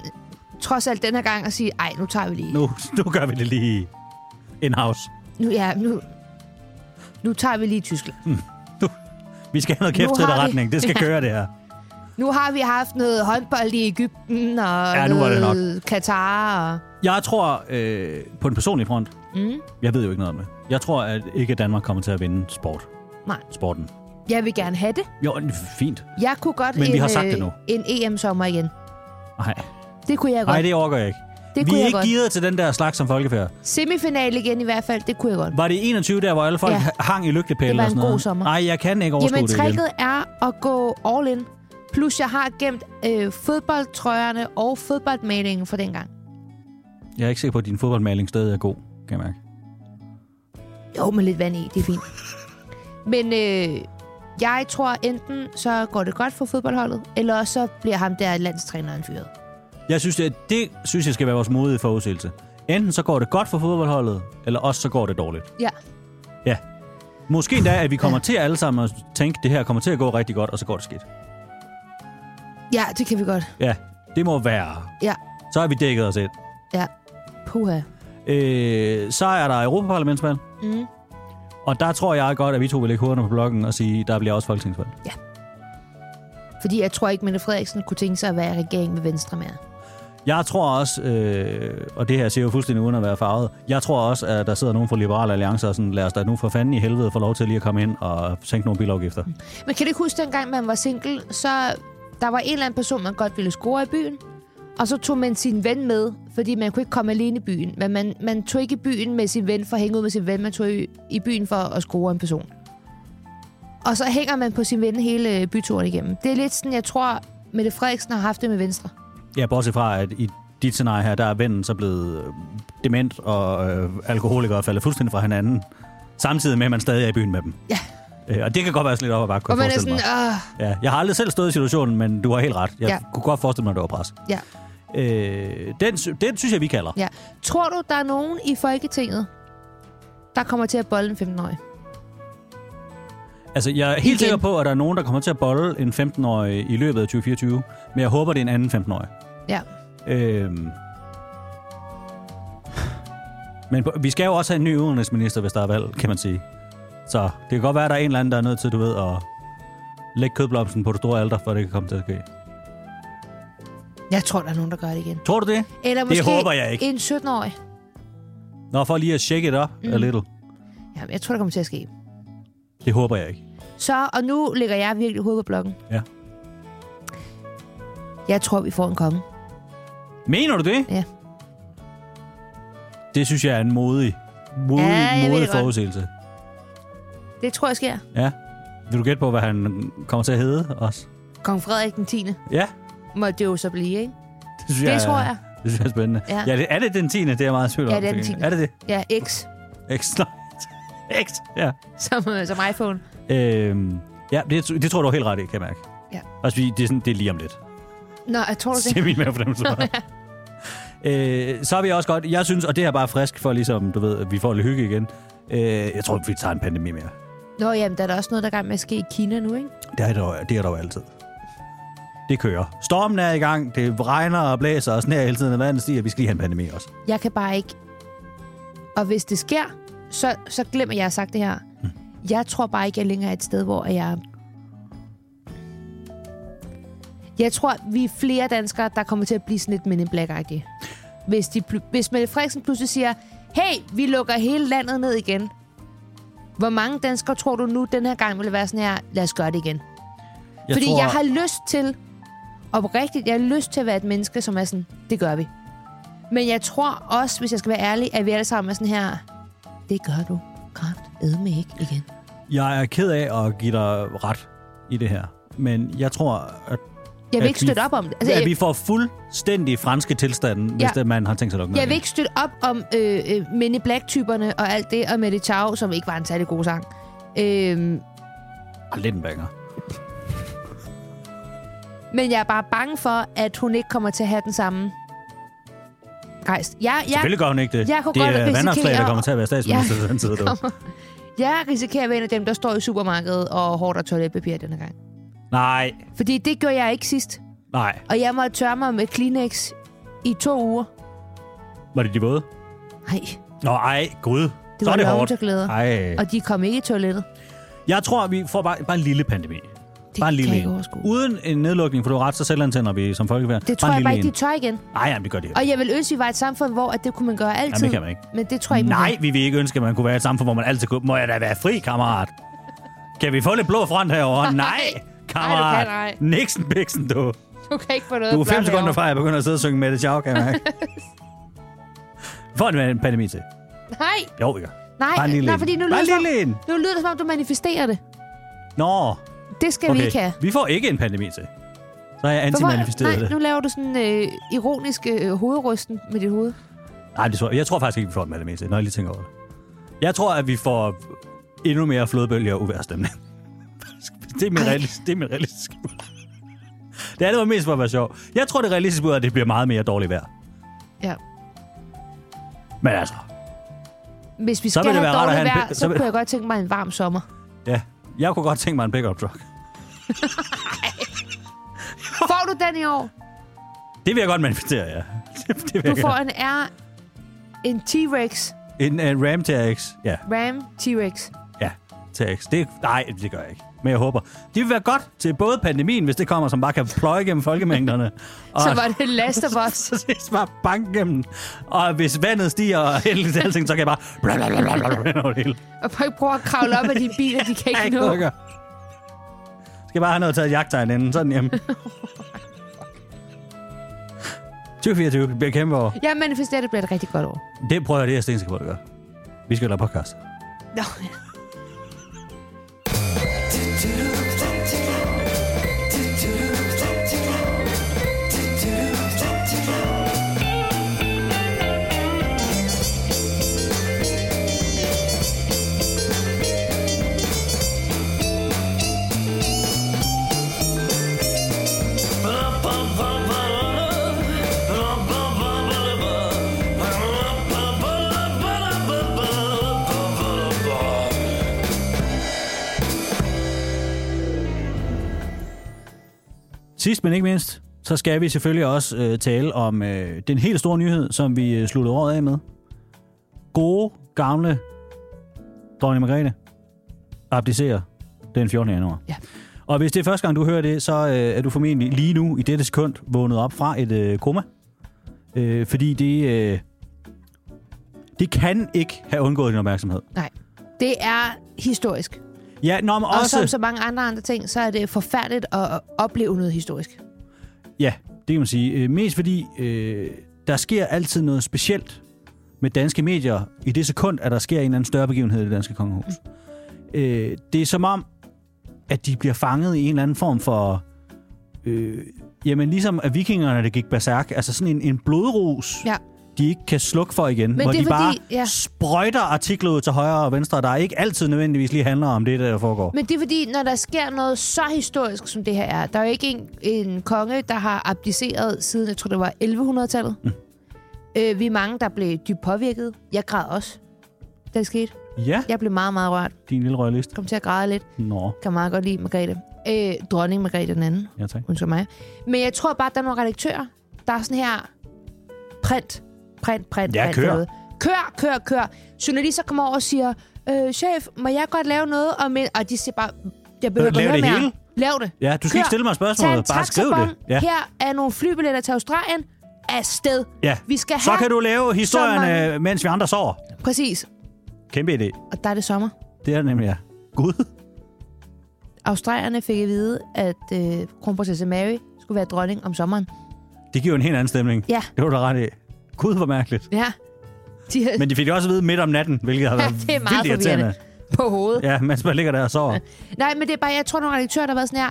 [SPEAKER 3] trods alt den her gang at sige, ej, nu tager vi lige...
[SPEAKER 2] Nu, nu gør vi det lige in-house.
[SPEAKER 3] Nu, ja, nu, nu tager vi lige Tyskland.
[SPEAKER 2] Vi skal have noget kæft
[SPEAKER 3] Nu
[SPEAKER 2] til
[SPEAKER 3] har
[SPEAKER 2] der
[SPEAKER 3] vi-
[SPEAKER 2] retning. Det skal
[SPEAKER 3] Ja.
[SPEAKER 2] køre, det her.
[SPEAKER 3] Nu har vi haft noget håndbold i Ægypten og
[SPEAKER 2] Ja, nu var det
[SPEAKER 3] noget Katar. Og...
[SPEAKER 2] Jeg tror øh, på en personlig front. Mm. Jeg ved jo ikke noget om det. Jeg tror at ikke, at Danmark kommer til at vinde sport.
[SPEAKER 3] Nej,
[SPEAKER 2] sporten.
[SPEAKER 3] jeg vil gerne have det.
[SPEAKER 2] Jo, fint.
[SPEAKER 3] Jeg kunne godt
[SPEAKER 2] Men
[SPEAKER 3] en,
[SPEAKER 2] vi har sagt
[SPEAKER 3] øh,
[SPEAKER 2] det nu.
[SPEAKER 3] en EM-sommer igen.
[SPEAKER 2] Nej,
[SPEAKER 3] Det kunne jeg godt.
[SPEAKER 2] Nej det overgår jeg ikke.
[SPEAKER 3] Det
[SPEAKER 2] vi
[SPEAKER 3] kunne
[SPEAKER 2] er
[SPEAKER 3] jeg
[SPEAKER 2] ikke
[SPEAKER 3] godt.
[SPEAKER 2] givet til den der slags som folkefærd.
[SPEAKER 3] Semifinale igen i hvert fald, det kunne jeg godt.
[SPEAKER 2] Var det 21 der, hvor alle folk
[SPEAKER 3] Ja.
[SPEAKER 2] ja. hang i lygtepæle
[SPEAKER 3] Det var
[SPEAKER 2] og
[SPEAKER 3] en
[SPEAKER 2] sådan
[SPEAKER 3] god
[SPEAKER 2] noget?
[SPEAKER 3] sommer.
[SPEAKER 2] Nej, jeg kan ikke overskue
[SPEAKER 3] Jamen,
[SPEAKER 2] det igen.
[SPEAKER 3] tricket er at gå all in. Plus, jeg har gemt øh, fodboldtrøjerne og fodboldmalingen fra dengang.
[SPEAKER 2] Jeg er ikke sikker på, at din fodboldmaling stadig er god, kan jeg mærke.
[SPEAKER 3] Jo, med lidt vand i, det er fint. Men øh, jeg tror enten, så går det godt for fodboldholdet, eller også så bliver ham der landstræneren fyret.
[SPEAKER 2] Jeg synes, det, det synes jeg skal være vores modige forudsigelse. Enten så går det godt for fodboldholdet, eller også så går det dårligt.
[SPEAKER 3] Ja.
[SPEAKER 2] Ja. Måske endda, at vi kommer til alle sammen at tænke, det her kommer til at gå rigtig godt, og så går det skidt.
[SPEAKER 3] Ja, det kan vi godt.
[SPEAKER 2] Ja, det må være.
[SPEAKER 3] Ja,
[SPEAKER 2] Så har vi dækket os ind.
[SPEAKER 3] ja. Puha.
[SPEAKER 2] Øh, så er der Europaparlamentsvalg. Mm. Og der tror jeg godt, at vi to vil lægge hovederne på blokken og sige, der bliver også folketingsvalg.
[SPEAKER 3] Fordi jeg tror ikke, Mette Frederiksen kunne tænke sig at være i regering med Venstre mere.
[SPEAKER 2] Jeg tror også, øh, og det her ser jo fuldstændig uden at være farvet, jeg tror også, at der sidder nogen fra Liberale Alliance og sådan, lad os da nu for fanden i helvede få lov til lige at komme ind og sænke nogle bilafgifter.
[SPEAKER 3] Men kan du ikke huske, dengang man var single, så der var en eller anden person, man godt ville score i byen, og så tog man sin ven med, fordi man kunne ikke komme alene i byen. Men man, man tog ikke i byen med sin ven for at hænge ud med sin ven, man tog i, i byen for at score en person. Og så hænger man på sin ven hele øh, byturen igennem. Det er lidt sådan, jeg tror, Mette Frederiksen har haft det med Venstre.
[SPEAKER 2] Ja, bortset fra, at i dit scenarie her, der er vennen så blevet øh, dement og øh, alkoholiker og faldet fuldstændig fra hinanden, samtidig med, at man stadig er i byen med dem.
[SPEAKER 3] Ja.
[SPEAKER 2] Øh, og det kan godt være sådan lidt op og bakke,
[SPEAKER 3] Og
[SPEAKER 2] kunne jeg
[SPEAKER 3] man er
[SPEAKER 2] forestille
[SPEAKER 3] sådan,
[SPEAKER 2] mig.
[SPEAKER 3] Åh,
[SPEAKER 2] Ja, jeg har aldrig selv stået i situationen, men du har helt ret. Jeg ja.
[SPEAKER 3] Ja.
[SPEAKER 2] kunne godt forestille mig, at det var pres.
[SPEAKER 3] ja,
[SPEAKER 2] Øh, den, sy- den synes jeg, vi kalder.
[SPEAKER 3] ja. Tror du, der er nogen i Folketinget, der kommer til at bolle en 15-årig?
[SPEAKER 2] Altså, jeg er helt
[SPEAKER 3] Igen.
[SPEAKER 2] sikker på, at der er nogen, der kommer til at bolle en 15-årig i løbet af 2024, men jeg håber, det er en anden 15-årig.
[SPEAKER 3] Ja.
[SPEAKER 2] Øh, men på- vi skal jo også have en ny udenrigsminister, hvis der er valg, kan man sige. Så det kan godt være, at der er en eller anden, der er nødt til, du ved, at lægge kødblomsten på det store alter, for at det kan komme til at ske.
[SPEAKER 3] Jeg tror, der er nogen, der gør det igen.
[SPEAKER 2] Tror du det?
[SPEAKER 3] Eller
[SPEAKER 2] Det
[SPEAKER 3] måske
[SPEAKER 2] håber jeg ikke.
[SPEAKER 3] en 17-årig.
[SPEAKER 2] Nå, for lige at shake it up mm. a little.
[SPEAKER 3] Jamen, jeg tror, det kommer til at ske.
[SPEAKER 2] Det håber jeg ikke.
[SPEAKER 3] Så, og nu ligger jeg virkelig hovedet på blokken.
[SPEAKER 2] Ja.
[SPEAKER 3] Jeg tror, vi får en konge.
[SPEAKER 2] Mener du det?
[SPEAKER 3] Ja.
[SPEAKER 2] Det synes jeg er en modig, modig,
[SPEAKER 3] Ja, jeg
[SPEAKER 2] ja,
[SPEAKER 3] ved
[SPEAKER 2] modig
[SPEAKER 3] det godt.
[SPEAKER 2] forudsigelse.
[SPEAKER 3] Det tror jeg sker.
[SPEAKER 2] Ja. Vil du gætte på, hvad han kommer til at hedde også?
[SPEAKER 3] Kong Frederik den 10.
[SPEAKER 2] Ja,
[SPEAKER 3] måtte det jo så blive, ikke?
[SPEAKER 2] det synes
[SPEAKER 3] Det
[SPEAKER 2] jeg
[SPEAKER 3] tror
[SPEAKER 2] er,
[SPEAKER 3] jeg.
[SPEAKER 2] Det synes jeg er spændende. Ja.
[SPEAKER 3] Ja.
[SPEAKER 2] ja det, er det den 10. Det er jeg meget i tvivl om.
[SPEAKER 3] Ja, det er den
[SPEAKER 2] til
[SPEAKER 3] 10..
[SPEAKER 2] Er det det?
[SPEAKER 3] Ja, X,
[SPEAKER 2] X, nej. X, ja.
[SPEAKER 3] som, øh, som iPhone.
[SPEAKER 2] Øhm, ja, det, det tror jeg, du er helt ret i, kan jeg mærke.
[SPEAKER 3] Ja.
[SPEAKER 2] Også fordi det er, sådan, det er lige om lidt.
[SPEAKER 3] Nå, jeg tror du
[SPEAKER 2] Det
[SPEAKER 3] det?
[SPEAKER 2] er min mavefornemmelse bare. Øh, så har vi også godt, jeg synes, og det her er bare frisk for ligesom, du ved, at vi får lidt hygge igen. Øh, jeg tror, vi tager en pandemi mere.
[SPEAKER 3] Nå, jamen, der er da også noget, der er i gang med at ske i Kina nu, ikke?
[SPEAKER 2] Det er der, jo- det er der jo altid. det kører. Stormen er i gang, det regner og blæser og sneer hele tiden, og vandet stiger. Vi skal lige have en pandemi også.
[SPEAKER 3] Jeg kan bare ikke. Og hvis det sker, så, så glemmer jeg, at jeg har sagt det her. Jeg tror bare ikke, jeg længere er et sted, hvor jeg... Jeg tror, vi er flere danskere, der kommer til at blive sådan lidt men in black -agtige. Hvis, de, pl- hvis Mette Frederiksen pludselig siger, hey, vi lukker hele landet ned igen. Hvor mange danskere tror du nu den her gang vil være sådan her, lad os gøre det igen?
[SPEAKER 2] Jeg
[SPEAKER 3] Fordi tror... jeg har lyst til, oprigtigt, jeg har lyst til at være et menneske, som er sådan, det gør vi. Men jeg tror også, hvis jeg skal være ærlig, at vi alle sammen er sådan her, det gør du kraft med ikke igen.
[SPEAKER 2] jeg er ked af at give dig ret i det her, men jeg tror, at,
[SPEAKER 3] Jeg vil
[SPEAKER 2] At
[SPEAKER 3] ikke
[SPEAKER 2] vi-
[SPEAKER 3] støtte op om det.
[SPEAKER 2] altså,
[SPEAKER 3] Altså,
[SPEAKER 2] at vi
[SPEAKER 3] jeg,
[SPEAKER 2] får fuldstændig franske tilstanden, ja. hvis
[SPEAKER 3] Ja.
[SPEAKER 2] det, man har tænkt sig at lukke ned
[SPEAKER 3] jeg vil
[SPEAKER 2] igen.
[SPEAKER 3] ikke støtte op om øh, øh, Men i Black-typerne og alt det, og Mette Chau, som ikke var en særlig god sang. Øh,
[SPEAKER 2] Ah, Lidt en banger.
[SPEAKER 3] men jeg er bare bange for, at hun ikke kommer til at have den samme gejst. Jeg, jeg,
[SPEAKER 2] Selvfølgelig gør hun ikke det.
[SPEAKER 3] Jeg kunne
[SPEAKER 2] det
[SPEAKER 3] godt
[SPEAKER 2] er
[SPEAKER 3] risikere-
[SPEAKER 2] vandopslag, der kommer til at være statsminister
[SPEAKER 3] Ja.
[SPEAKER 2] til den tid. du.
[SPEAKER 3] jeg risikerer at være en af dem, der står i supermarkedet og hårdt og toiletpapir denne gang.
[SPEAKER 2] Nej,
[SPEAKER 3] Fordi det gjorde jeg ikke sidst.
[SPEAKER 2] nej.
[SPEAKER 3] Og jeg måtte tørre mig med Kleenex i to uger.
[SPEAKER 2] Var det de våde?
[SPEAKER 3] Nej,
[SPEAKER 2] Nå, ej, gud.
[SPEAKER 3] det
[SPEAKER 2] Så er
[SPEAKER 3] var
[SPEAKER 2] det hårdt.
[SPEAKER 3] lommetørklæder.
[SPEAKER 2] Ej.
[SPEAKER 3] Og de kom ikke i toilettet.
[SPEAKER 2] Jeg tror, vi får bare, bare en lille pandemi.
[SPEAKER 3] Det
[SPEAKER 2] bare en
[SPEAKER 3] kan
[SPEAKER 2] lille
[SPEAKER 3] jeg ikke
[SPEAKER 2] en.
[SPEAKER 3] overskue.
[SPEAKER 2] Uden en nedlukning, for du har ret, så selvantænder vi som folkeværd.
[SPEAKER 3] Det tror
[SPEAKER 2] bare
[SPEAKER 3] jeg
[SPEAKER 2] en
[SPEAKER 3] bare
[SPEAKER 2] lille
[SPEAKER 3] ikke, de tør igen.
[SPEAKER 2] en. Nej, jamen, det gør det.
[SPEAKER 3] Og jeg vil ønske, at vi var et samfund, hvor at det kunne man gøre altid.
[SPEAKER 2] Jamen, det kan man ikke.
[SPEAKER 3] Men det tror jeg ikke, man
[SPEAKER 2] Nej,
[SPEAKER 3] kan.
[SPEAKER 2] vi vil ikke ønske, at man kunne være et samfund, hvor man altid kunne... Må jeg da være fri, kammerat? Kan vi få lidt blå front herovre? Nej, kammerat.
[SPEAKER 3] Nej, du
[SPEAKER 2] Nixon Bixen, du.
[SPEAKER 3] Du kan ikke få noget
[SPEAKER 2] Du er
[SPEAKER 3] blot
[SPEAKER 2] fem sekunder
[SPEAKER 3] herovre.
[SPEAKER 2] fra, at jeg begynder at sidde og synge med det ciao, kan jeg mærke. Får det en pandemi til?
[SPEAKER 3] Nej,
[SPEAKER 2] Jo, vi gør.
[SPEAKER 3] nej,
[SPEAKER 2] Bare en lille
[SPEAKER 3] nej,
[SPEAKER 2] en.
[SPEAKER 3] fordi nu
[SPEAKER 2] Bare
[SPEAKER 3] lyder,
[SPEAKER 2] en
[SPEAKER 3] det som,
[SPEAKER 2] lille en.
[SPEAKER 3] nu lyder det som om, du manifesterer det.
[SPEAKER 2] Nå,
[SPEAKER 3] Det skal vi
[SPEAKER 2] okay.
[SPEAKER 3] ikke have.
[SPEAKER 2] Vi får ikke en pandemi til. Så er jeg
[SPEAKER 3] Hvorfor-
[SPEAKER 2] antimanifesteret
[SPEAKER 3] nej,
[SPEAKER 2] det.
[SPEAKER 3] nu laver du sådan øh, ironisk øh, hovedrysten med dit hoved.
[SPEAKER 2] Nej, det tror jeg. jeg tror faktisk ikke, vi får en pandemi til, når jeg lige tænker over det. Jeg tror, at vi får endnu mere flodbølge og uværstemning. det er min
[SPEAKER 3] Ej.
[SPEAKER 2] realistiske det er min realistiske bud. Det andet var mest for at være sjov. Jeg tror, det realistiske bud er, at det bliver meget mere dårligt vejr.
[SPEAKER 3] Ja.
[SPEAKER 2] Men altså,
[SPEAKER 3] Hvis vi
[SPEAKER 2] Så
[SPEAKER 3] skal
[SPEAKER 2] vil det
[SPEAKER 3] have
[SPEAKER 2] være rart at
[SPEAKER 3] dårligt
[SPEAKER 2] have en
[SPEAKER 3] vejr,
[SPEAKER 2] pi-
[SPEAKER 3] så,
[SPEAKER 2] så vil-
[SPEAKER 3] kunne jeg godt tænke mig en varm sommer.
[SPEAKER 2] ja. Jeg kunne godt tænke mig en pickup truck.
[SPEAKER 3] Får du den i år?
[SPEAKER 2] Det vil jeg godt manifestere, ja. Det, det vil
[SPEAKER 3] Du
[SPEAKER 2] jeg
[SPEAKER 3] får
[SPEAKER 2] gerne.
[SPEAKER 3] en R, en T-Rex,
[SPEAKER 2] En, en Ram TRX. Ja,
[SPEAKER 3] Ram T-Rex.
[SPEAKER 2] ja. TRX. Det, nej, det gør jeg ikke. Men jeg håber. Det vil være godt til både pandemien, hvis det kommer, som bare kan pløje gennem folkemængderne. Og,
[SPEAKER 3] Så var det Last of Us.
[SPEAKER 2] Præcis, bare bank gennem. Og hvis vandet stiger og heldigt alting, så kan jeg bare... Bla, bla, bla, bla, bla, bla, over det hele.
[SPEAKER 3] Og folk prøver at kravle op af de biler, de kan
[SPEAKER 2] Jeg
[SPEAKER 3] ikke nå.
[SPEAKER 2] gøre. Skal jeg bare have noget taget jagttegn inden, sådan hjemme. 2024 bliver et kæmpe år.
[SPEAKER 3] Jeg manifesterer, at det bliver et rigtig godt år.
[SPEAKER 2] Det prøver jeg, det er jeg stensikker på, at gøre. Vi skal lave podcast.
[SPEAKER 3] Nå,
[SPEAKER 2] Sidst men ikke mindst, så skal vi selvfølgelig også øh, tale om øh, den helt store nyhed, som vi øh, sluttede året af med. Gode, gamle dronning Margrethe abdicerer den 14. januar.
[SPEAKER 3] Ja.
[SPEAKER 2] Og hvis det er første gang, du hører det, så øh, er du formentlig lige nu i dette sekund vågnet op fra et øh, koma. Øh, fordi det, øh, det kan ikke have undgået din opmærksomhed.
[SPEAKER 3] nej. Det er historisk. Også...
[SPEAKER 2] Ja, nå, men
[SPEAKER 3] Og
[SPEAKER 2] også...
[SPEAKER 3] som så mange andre andre ting, så er det forfærdeligt at opleve noget historisk.
[SPEAKER 2] Ja, det kan man sige. Øh, Mest fordi, øh, der sker altid noget specielt med danske medier i det sekund, at der sker en eller anden større begivenhed i det danske kongehus. Øh, det er som om, at de bliver fanget i en eller anden form for... Øh, jamen ligesom at vikingerne, der gik berserk. Altså sådan en, en blodrus,
[SPEAKER 3] Ja.
[SPEAKER 2] de ikke kan slukke for igen.
[SPEAKER 3] Men
[SPEAKER 2] hvor
[SPEAKER 3] det
[SPEAKER 2] de
[SPEAKER 3] er
[SPEAKER 2] bare
[SPEAKER 3] fordi- ja.
[SPEAKER 2] sprøjter artikler ud til højre og venstre, der ikke altid nødvendigvis lige handler om det, der foregår.
[SPEAKER 3] Men det er fordi, når der sker noget så historisk, som det her er, der er jo ikke en, en konge, der har abdiceret siden, jeg tror, det var 1100-tallet. Mm. Øh, vi er mange, der blev dybt påvirket. Jeg græd også, da det skete.
[SPEAKER 2] Ja,
[SPEAKER 3] Jeg blev meget, meget rørt.
[SPEAKER 2] din lille røgliste.
[SPEAKER 3] Kom til at græde lidt.
[SPEAKER 2] Nå.
[SPEAKER 3] Kan meget godt lide Margrethe. øh, dronning Margrethe den anden.
[SPEAKER 2] Ja, tak.
[SPEAKER 3] Undskyld mig. Men jeg tror bare, at der er nogle redaktører, der er sådan her... Print, print, print,
[SPEAKER 2] Ja,
[SPEAKER 3] print.
[SPEAKER 2] kør.
[SPEAKER 3] derude. Kør, kør, kør. Journalister kommer over og siger, øh, chef, må jeg godt lave noget om en... Og de siger bare, jeg behøver
[SPEAKER 2] lav
[SPEAKER 3] ikke at
[SPEAKER 2] Øh, det
[SPEAKER 3] høre mere.
[SPEAKER 2] hele.
[SPEAKER 3] Lav det.
[SPEAKER 2] Ja, du skal ikke
[SPEAKER 3] Kør.
[SPEAKER 2] stille mig spørgsmålet.
[SPEAKER 3] Tag en
[SPEAKER 2] Bare skriv det.
[SPEAKER 3] taxabon.
[SPEAKER 2] Ja.
[SPEAKER 3] Her er nogle flybilletter til Australien. Afsted.
[SPEAKER 2] ja.
[SPEAKER 3] Vi skal
[SPEAKER 2] Så
[SPEAKER 3] have-
[SPEAKER 2] kan du lave historierne,
[SPEAKER 3] mange-
[SPEAKER 2] mens vi andre sover.
[SPEAKER 3] Præcis.
[SPEAKER 2] Kæmpe idé.
[SPEAKER 3] Og der er det sommer.
[SPEAKER 2] Det er det nemlig, ja. Gud.
[SPEAKER 3] Australierne fik at vide, at øh, kronprinsesse Mary skulle være dronning om sommeren.
[SPEAKER 2] Det giver jo en helt anden stemning.
[SPEAKER 3] Ja.
[SPEAKER 2] Det var du da ret i. Gud, hvor mærkeligt.
[SPEAKER 3] Ja. De har
[SPEAKER 2] Men de fik det også at vide midt om natten, hvilket har været
[SPEAKER 3] det er meget
[SPEAKER 2] vildt irriterende.
[SPEAKER 3] på hovedet.
[SPEAKER 2] Ja, mens man ligger der og sover.
[SPEAKER 3] Nej, men det er bare, jeg tror, nogle redaktører, der har været sådan her.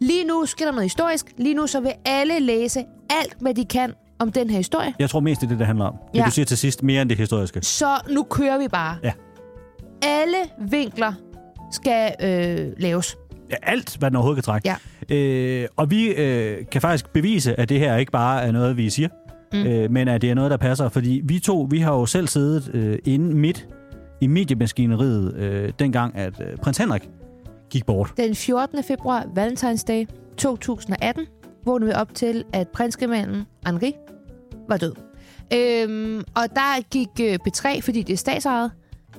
[SPEAKER 3] Lige nu sker der noget historisk. Lige nu så vil alle læse alt, hvad de kan om den her historie.
[SPEAKER 2] Jeg tror mest, det er det, det handler om. Det
[SPEAKER 3] Ja.
[SPEAKER 2] du siger til sidst, mere end det historiske.
[SPEAKER 3] Så nu kører vi bare.
[SPEAKER 2] Ja.
[SPEAKER 3] Alle vinkler skal øh, laves.
[SPEAKER 2] Ja, Alt, hvad den overhovedet kan trække. Ja. Øh, og vi øh, kan faktisk bevise, at det her ikke bare er noget, vi siger, mm. øh, men at det er noget, der passer. Fordi vi to, vi har jo selv siddet øh, inde midt i mediemaskineriet, øh, dengang at øh, prins Henrik gik bort.
[SPEAKER 3] Den 14. februar, Valentinsdag 2018, vågnede vi op til, at prinskemanden Henri var død. Øhm, og der gik øh, B3, fordi det er statsejet,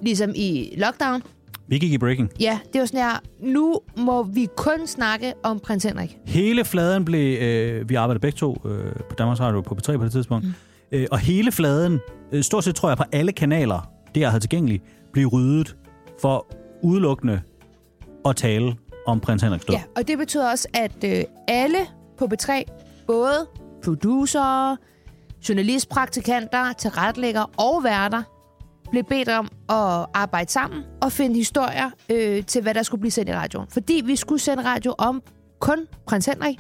[SPEAKER 3] ligesom i lockdown.
[SPEAKER 2] Vi gik i breaking.
[SPEAKER 3] Ja, det var sådan her, nu må vi kun snakke om prins Henrik.
[SPEAKER 2] Hele fladen blev... Øh, vi arbejdede begge to øh, på Danmarks Radio på P3 på det tidspunkt. Mm. Øh, og hele fladen, øh, stort set tror jeg på alle kanaler, det jeg havde tilgængeligt, blev ryddet for udelukkende at tale om prins Henriks død.
[SPEAKER 3] Ja, og det betød også, at øh, alle på B3, både producer, journalistpraktikanter, tilretlægger og værter, blev bedt om at arbejde sammen og finde historier øh, til, hvad der skulle blive sendt i radioen. Fordi vi skulle sende radio om kun prins Henrik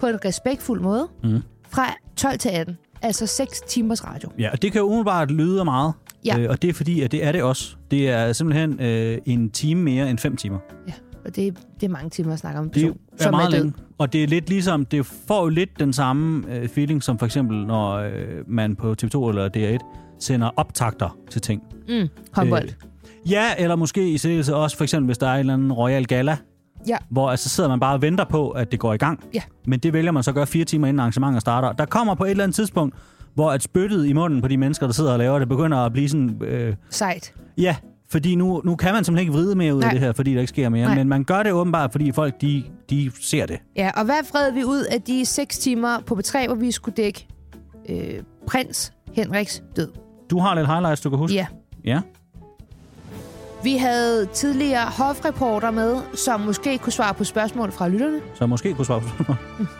[SPEAKER 3] på en respektfuld måde
[SPEAKER 2] Mhm.
[SPEAKER 3] mm. fra 12 til 18. Altså 6 timers radio.
[SPEAKER 2] Ja, og det kan jo umiddelbart lyde af meget.
[SPEAKER 3] Ja.
[SPEAKER 2] Øh, og det er fordi, at det er det også. Det er simpelthen øh, en time mere end fem timer.
[SPEAKER 3] Ja, og det, det er mange timer at snakke om en
[SPEAKER 2] Det
[SPEAKER 3] person,
[SPEAKER 2] er
[SPEAKER 3] som
[SPEAKER 2] meget
[SPEAKER 3] er død.
[SPEAKER 2] længe. Og det er lidt ligesom, det får jo lidt den samme øh, feeling, som for eksempel, når øh, man på TV2 eller DR1 sender optakter til ting.
[SPEAKER 3] Mm, håndbold.
[SPEAKER 2] Øh, ja, eller måske i særdeleshed også, for eksempel hvis der er en eller anden Royal Gala,
[SPEAKER 3] Ja.
[SPEAKER 2] hvor altså, sidder man bare og venter på, at det går i gang.
[SPEAKER 3] Ja.
[SPEAKER 2] Men det vælger man så at gøre fire timer inden arrangementet starter. Der kommer på et eller andet tidspunkt, hvor at spyttet i munden på de mennesker, der sidder og laver det, begynder at blive sådan... Øh,
[SPEAKER 3] Sejt.
[SPEAKER 2] ja, fordi nu, nu kan man simpelthen ikke vride mere ud
[SPEAKER 3] Nej.
[SPEAKER 2] af det her, fordi der ikke sker mere.
[SPEAKER 3] Nej.
[SPEAKER 2] Men man gør det åbenbart, fordi folk de, de ser det.
[SPEAKER 3] Ja, og hvad fred vi ud af de 6 timer på B3, hvor vi skulle dække øh, prins Henriks død?
[SPEAKER 2] Du har lidt highlights, du kan huske?
[SPEAKER 3] Ja.
[SPEAKER 2] Ja.
[SPEAKER 3] Vi havde tidligere hofreporter med, som måske kunne svare på spørgsmål fra lytterne.
[SPEAKER 2] Så måske kunne svare på spørgsmålet.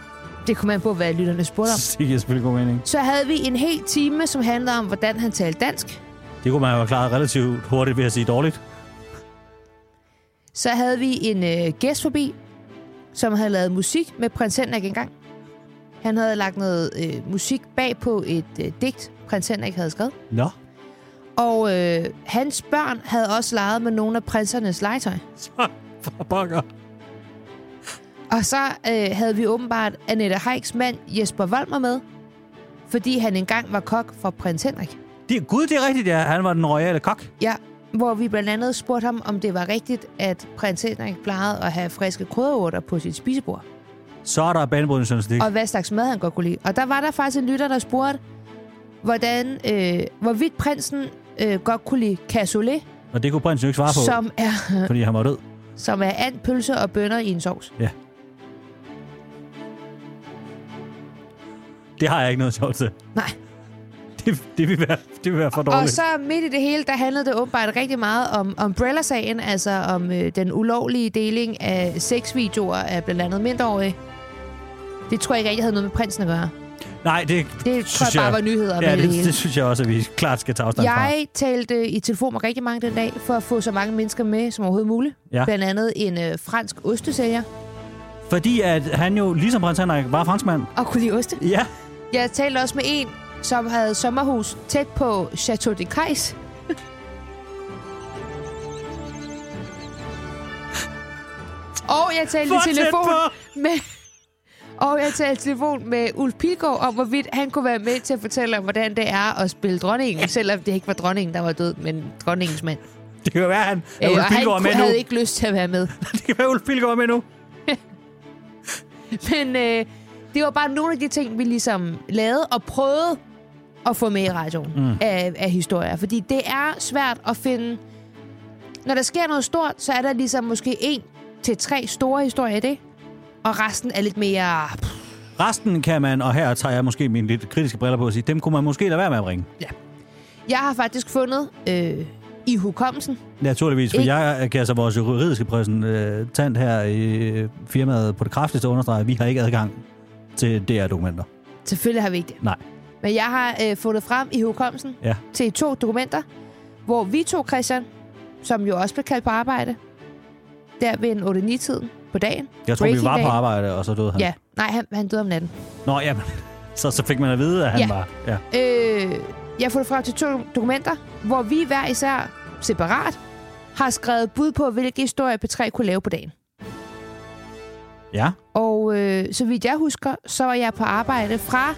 [SPEAKER 3] Det kunne man på, hvad lytterne spurgte om.
[SPEAKER 2] Det giver selvfølgelig god mening.
[SPEAKER 3] Så havde vi en hel time, som handlede om, hvordan han talte dansk.
[SPEAKER 2] Det kunne man jo have klaret relativt hurtigt ved at sige dårligt.
[SPEAKER 3] Så havde vi en øh, gæst forbi, som havde lavet musik med prins Henrik engang. Han havde lagt noget øh, musik bag på et øh, digt, prins Henrik havde skrevet.
[SPEAKER 2] Nå.
[SPEAKER 3] Og øh, hans børn havde også leget med nogle af prinsernes legetøj.
[SPEAKER 2] Så for pokker.
[SPEAKER 3] Og så øh, havde vi åbenbart Annette Heiks mand Jesper Volmer med, fordi han engang var kok for prins Henrik.
[SPEAKER 2] Det, gud, det er rigtigt, ja. Han var den royale kok.
[SPEAKER 3] Ja, hvor vi blandt andet spurgte ham, om det var rigtigt, at prins Henrik plejede at have friske krydderurter på sit spisebord.
[SPEAKER 2] Så er der banebrydende journalistik.
[SPEAKER 3] Og hvad slags mad han godt kunne lide. Og der var der faktisk en lytter, der spurgte, hvordan, øh, hvorvidt prinsen øh, godt kunne lide cassoulet,
[SPEAKER 2] Og det kunne prinsen jo ikke svare på, Som...
[SPEAKER 3] som er,
[SPEAKER 2] fordi han var død.
[SPEAKER 3] som er and, pølse og bønner i en sovs.
[SPEAKER 2] Det har jeg ikke noget sjovt til.
[SPEAKER 3] Nej.
[SPEAKER 2] Det, det, vil, være, det vil være for dårligt.
[SPEAKER 3] Og så midt i det hele, der handlede det åbenbart rigtig meget om Umbrella-sagen, altså om øh, den ulovlige deling af sexvideoer af blandt andet mindreårige. Det tror jeg ikke, rigtig havde noget med prinsen at gøre.
[SPEAKER 2] Nej, det,
[SPEAKER 3] Det tror jeg bare var nyheder om
[SPEAKER 2] Ja,
[SPEAKER 3] det
[SPEAKER 2] det,
[SPEAKER 3] hele.
[SPEAKER 2] det synes jeg også, at vi klart skal tage afstand fra.
[SPEAKER 3] Jeg talte i telefon med rigtig mange den dag, for at få så mange mennesker med som overhovedet muligt.
[SPEAKER 2] Ja.
[SPEAKER 3] Blandt andet en øh, fransk ostesælger,
[SPEAKER 2] Fordi at han jo, ligesom prins Henrik, var franskmand.
[SPEAKER 3] og kunne lide oste.
[SPEAKER 2] Ja.
[SPEAKER 3] Jeg talte også med en, som havde sommerhus tæt på Chateau de Kajs. Og jeg talte i
[SPEAKER 2] Hvor tæt
[SPEAKER 3] telefon
[SPEAKER 2] på!
[SPEAKER 3] med... Og jeg talte i telefon med Ulf Pilgaard om, hvorvidt han kunne være med til at fortælle om, hvordan det er at spille dronningen, ja. selvom det ikke var dronningen, der var død, men dronningens mand.
[SPEAKER 2] Det kan være, han, at
[SPEAKER 3] Øh,
[SPEAKER 2] Ulf
[SPEAKER 3] og han
[SPEAKER 2] Pilgaard er med
[SPEAKER 3] kunne-
[SPEAKER 2] nu.
[SPEAKER 3] havde ikke lyst til at være med.
[SPEAKER 2] Det kan være, Ulf Pilgaard er med nu.
[SPEAKER 3] Men øh, det var bare nogle af de ting, vi ligesom lavede og prøvede at få med i radioen mm. af, af historier. Fordi det er svært at finde... Når der sker noget stort, så er der ligesom måske en til tre store historier i det. Og resten er lidt mere...
[SPEAKER 2] Resten kan man, og her tager jeg måske mine lidt kritiske briller på at sige, dem kunne man måske lade være med at bringe.
[SPEAKER 3] Jeg har faktisk fundet øh, i hukommelsen.
[SPEAKER 2] Naturligvis, for
[SPEAKER 3] Ikke-
[SPEAKER 2] jeg kan altså vores juridiske præsentant her i øh, firmaet på det kraftigste understrege, at vi har ikke adgang til DR-dokumenter.
[SPEAKER 3] Selvfølgelig har vi ikke det.
[SPEAKER 2] Nej.
[SPEAKER 3] Men jeg har øh, fundet frem i hukommelsen
[SPEAKER 2] Ja.
[SPEAKER 3] til E to dokumenter, hvor vi to, Christian, som jo også blev kaldt på arbejde, der ved en 8-9-tiden på dagen.
[SPEAKER 2] Jeg tror, vi var
[SPEAKER 3] Breaking
[SPEAKER 2] på
[SPEAKER 3] day.
[SPEAKER 2] arbejde, og så døde han.
[SPEAKER 3] Ja, nej, han, han døde om natten.
[SPEAKER 2] Nå, jamen. Så, så fik man at vide, at han
[SPEAKER 3] Ja.
[SPEAKER 2] var... Ja.
[SPEAKER 3] Øh, jeg har fundet frem til to dokumenter, hvor vi hver især separat har skrevet bud på, hvilke historier P3 kunne lave på dagen.
[SPEAKER 2] ja.
[SPEAKER 3] Og øh, så vidt jeg husker, så var jeg på arbejde fra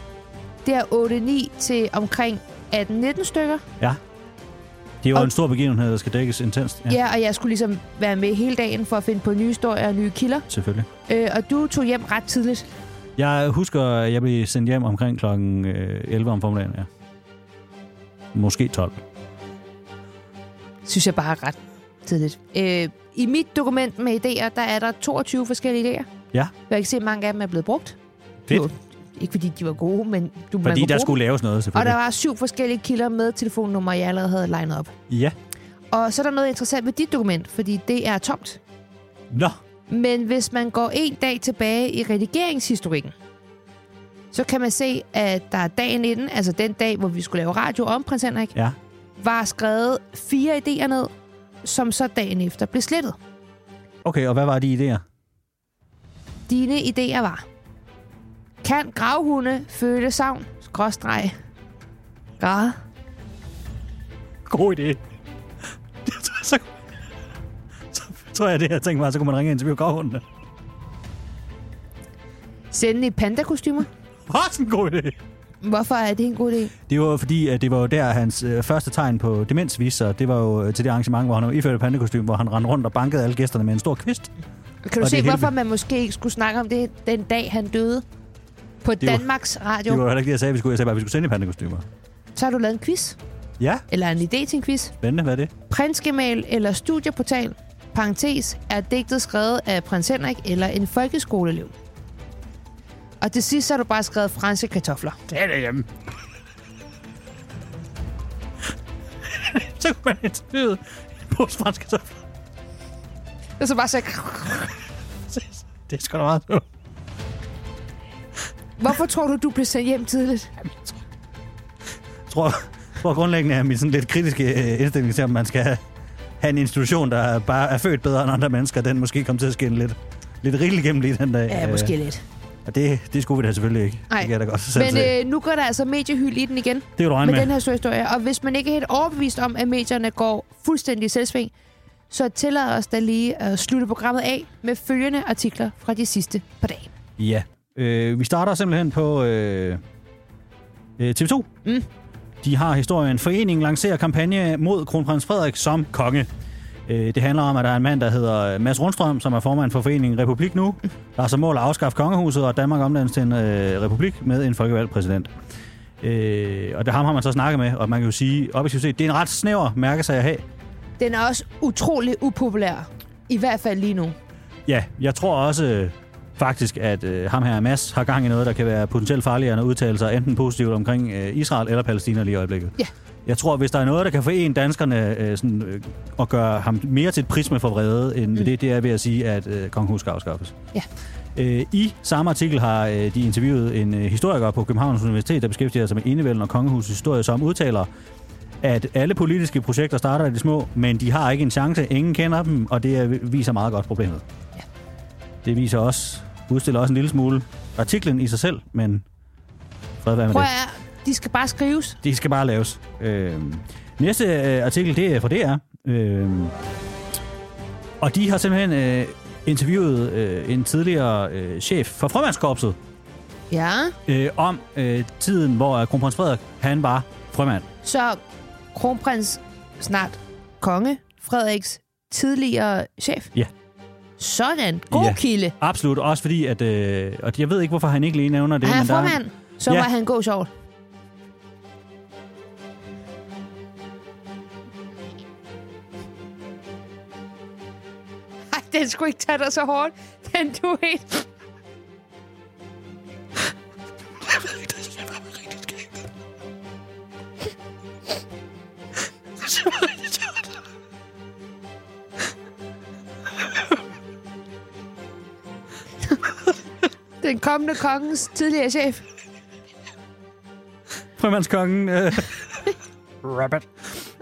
[SPEAKER 3] der 8-9 til omkring 18-19 stykker.
[SPEAKER 2] Det var
[SPEAKER 3] Og-
[SPEAKER 2] en stor begivenhed, der skal dækkes intenst.
[SPEAKER 3] Ja. ja, og jeg skulle ligesom være med hele dagen for at finde på nye historier og nye kilder.
[SPEAKER 2] Selvfølgelig.
[SPEAKER 3] Øh, og du tog hjem ret tidligt.
[SPEAKER 2] Jeg husker, at jeg blev sendt hjem omkring kl. 11 om formiddagen. Ja. Måske 12.
[SPEAKER 3] Synes jeg bare er ret tidligt. Øh, I mit dokument med idéer, der er der 22 forskellige idéer.
[SPEAKER 2] Ja.
[SPEAKER 3] Jeg kan se, at mange af dem er blevet brugt.
[SPEAKER 2] Fedt.
[SPEAKER 3] Jo, ikke fordi de var gode, men du man
[SPEAKER 2] Fordi
[SPEAKER 3] kunne
[SPEAKER 2] der
[SPEAKER 3] bruge
[SPEAKER 2] skulle laves noget,
[SPEAKER 3] dem. Og der
[SPEAKER 2] selvfølgelig.
[SPEAKER 3] var syv forskellige kilder med telefonnummer, jeg allerede havde legnet op.
[SPEAKER 2] Ja.
[SPEAKER 3] Og så er der noget interessant ved dit dokument, fordi det er tomt.
[SPEAKER 2] Nå.
[SPEAKER 3] Men hvis man går en dag tilbage i redigeringshistorikken, så kan man se, at der er dagen inden, altså den dag, hvor vi skulle lave radio om prins Henrik,
[SPEAKER 2] Ja.
[SPEAKER 3] var skrevet fire idéer ned, som så dagen efter blev slettet.
[SPEAKER 2] Okay, og hvad var de idéer?
[SPEAKER 3] Dine idéer var, kan gravhunde føle savn? Skråstreg. Græde.
[SPEAKER 2] God idé. Det tror jeg, så, så tror jeg, det jeg tænkte var, så kunne man ringe ind til biografhundene.
[SPEAKER 3] Sende i pandakostymer.
[SPEAKER 2] Også en god idé.
[SPEAKER 3] Hvorfor er det en god idé?
[SPEAKER 2] Det var jo fordi, at det var jo der, hans øh, første tegn på demens viste sig. Det var jo øh, til det arrangement, hvor han var iført et pandekostym, hvor han rendte rundt og bankede alle gæsterne med en stor kvist.
[SPEAKER 3] Kan du
[SPEAKER 2] Og det
[SPEAKER 3] se,
[SPEAKER 2] er helt
[SPEAKER 3] hvorfor
[SPEAKER 2] vildt.
[SPEAKER 3] man måske ikke skulle snakke om det den dag, han døde? På
[SPEAKER 2] var-
[SPEAKER 3] Danmarks Radio.
[SPEAKER 2] Det var jo heller ikke det, jeg sagde, vi skulle. Jeg sagde bare, at vi skulle sende i pandekostymer.
[SPEAKER 3] Så har du lavet en quiz.
[SPEAKER 2] Ja,
[SPEAKER 3] Eller en idé til en quiz.
[SPEAKER 2] spændende. Hvad er det?
[SPEAKER 3] Prinsgemal eller studieportal, parentes, er digtet skrevet af prins Henrik eller en folkeskoleelev. Og til sidst så har du bare skrevet franske kartofler.
[SPEAKER 2] Det er det hjemme. så kunne man interviewe en pose franske kartofler.
[SPEAKER 3] Og så bare så,
[SPEAKER 2] Det er sgu da meget sjovt.
[SPEAKER 3] hvorfor tror du, du blev sendt hjem tidligt?
[SPEAKER 2] Jeg tror, jeg tror grundlæggende er min sådan lidt kritiske øh, indstilling til, om man skal have en institution, der bare er født bedre end andre mennesker. Den måske kom til at skinne lidt, lidt rigeligt gennem lige den dag.
[SPEAKER 3] Ja,
[SPEAKER 2] Øh,
[SPEAKER 3] måske lidt.
[SPEAKER 2] Og det, det skulle vi da selvfølgelig ikke.
[SPEAKER 3] Nej.
[SPEAKER 2] Det kan jeg da godt selv
[SPEAKER 3] Men
[SPEAKER 2] se.
[SPEAKER 3] øh, nu går der altså mediehyld i den igen
[SPEAKER 2] det er du regne
[SPEAKER 3] med
[SPEAKER 2] med.
[SPEAKER 3] den her store historie. Og hvis man ikke er helt overbevist om, at medierne går fuldstændig i selvsving, så tillad os da lige at slutte programmet af med følgende artikler fra de sidste par dage.
[SPEAKER 2] Ja. Øh, vi starter simpelthen på øh, øh, TV2.
[SPEAKER 3] Mm.
[SPEAKER 2] De har historien. Foreningen lancerer kampagne mod kronprins Frederik som konge. Øh, det handler om, at der er en mand, der hedder øh, Mads Rundstrøm, som er formand for foreningen Republik Nu, der har som mål at afskaffe kongehuset og Danmark omdannes til en øh, republik med en folkevalgt præsident. Øh, og det ham har man så snakket med, og man kan jo sige, objektivt set, det er en ret snæver mærkesag at have.
[SPEAKER 3] Den er også utrolig upopulær. I hvert fald lige nu.
[SPEAKER 2] Ja, jeg tror også øh, faktisk, at øh, ham her, Mads, har gang i noget, der kan være potentielt farligere end at udtale sig enten positivt omkring øh, Israel eller Palæstina lige i øjeblikket.
[SPEAKER 3] Ja.
[SPEAKER 2] Jeg tror, hvis der er noget, der kan forene danskerne øh, sådan, øh, og gøre ham mere til et prisme for vrede, end mm. det, det er ved at sige, at øh, kongehus skal afskaffes.
[SPEAKER 3] Ja.
[SPEAKER 2] Øh, I samme artikel har øh, de interviewet en øh, historiker på Københavns Universitet, der beskæftiger sig med enevælden og kongehusets historie, som udtaler, at alle politiske projekter starter i det små, men de har ikke en chance, ingen kender dem, og det er- viser meget godt problemet. Det viser også, udstiller også en lille smule artiklen i sig selv, men fred være med
[SPEAKER 3] Prøv
[SPEAKER 2] det.
[SPEAKER 3] at høre, de skal bare skrives.
[SPEAKER 2] Det skal bare laves. Øh, næste øh, artikel, det er fra DR. Øh, og de har simpelthen øh, interviewet øh, en tidligere øh, chef for frømandskorpset
[SPEAKER 3] Ja.
[SPEAKER 2] øh, om øh, tiden, hvor øh, kronprins Frederik, han var frømand.
[SPEAKER 3] Så kronprins, snart konge, Frederiks tidligere chef,
[SPEAKER 2] Ja.
[SPEAKER 3] Sådan. God
[SPEAKER 2] Ja.
[SPEAKER 3] yeah. kilde.
[SPEAKER 2] Absolut, også fordi, at... Øh, og jeg ved ikke, hvorfor han ikke lige nævner det,
[SPEAKER 3] Er han
[SPEAKER 2] men der
[SPEAKER 3] formand?
[SPEAKER 2] er,
[SPEAKER 3] Så
[SPEAKER 2] Ja.
[SPEAKER 3] var han god sjov. Ej, den skulle ikke tage dig så hårdt. Den du ikke. Den kommende kongens tidligere chef.
[SPEAKER 2] Frømandskongen. Øh, Rabbit.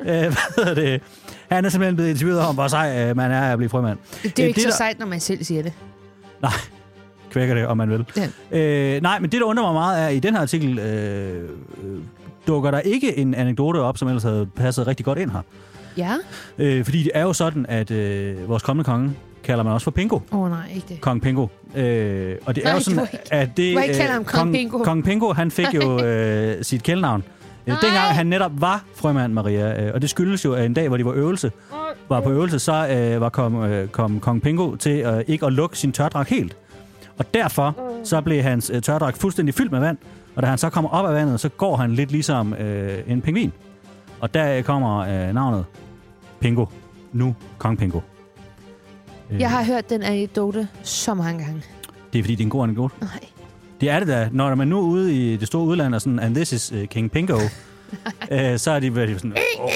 [SPEAKER 2] Øh, hvad hedder det? Han er simpelthen blevet interviewet om, hvor sej øh, man er af at blive frømand. Øh,
[SPEAKER 3] Det er jo ikke
[SPEAKER 2] det,
[SPEAKER 3] så sejt, når man selv siger det.
[SPEAKER 2] Nej, kvækker det, om man vil.
[SPEAKER 3] Ja.
[SPEAKER 2] Øh, nej, men det, der undrer mig meget, er, at i den her artikel øh, øh, dukker der ikke en anekdote op, som ellers havde passet rigtig godt ind her.
[SPEAKER 3] Ja?
[SPEAKER 2] Øh, fordi det er jo sådan, at øh, vores kommende konge kalder man også for Pingo.
[SPEAKER 3] Åh oh, nej, ikke det.
[SPEAKER 2] Kong Pingo. Øh, og det
[SPEAKER 3] Nej,
[SPEAKER 2] er jo
[SPEAKER 3] du
[SPEAKER 2] sådan,
[SPEAKER 3] må ikke-
[SPEAKER 2] at det...
[SPEAKER 3] du må ikke
[SPEAKER 2] øh,
[SPEAKER 3] kalde ham Kong Pingo.
[SPEAKER 2] Kong Pingo, han fik jo øh, sit kældnavn. Øh,
[SPEAKER 3] Nej.
[SPEAKER 2] dengang han netop var frømand Maria, øh, og det skyldes jo, at en dag, hvor de var øvelse, var på øvelse, så øh, var kom, øh, kom Kong Pingo til øh, ikke at lukke sin tørdrag helt. Og derfor
[SPEAKER 3] Mm.
[SPEAKER 2] så blev hans øh, tørdrag fuldstændig fyldt med vand, og da han så kommer op af vandet, så går han lidt ligesom øh, en pingvin. Og der øh, kommer øh, navnet Pingo. Nu Kong Pingo. Øh,
[SPEAKER 3] Jeg har hørt den anekdote så mange gange.
[SPEAKER 2] Det er fordi, det er en god anekdote.
[SPEAKER 3] Nej.
[SPEAKER 2] Det er det da. Når man nu er ude i det store udland og sådan, and this is uh, King Pingo, øh, så er de været sådan, oh,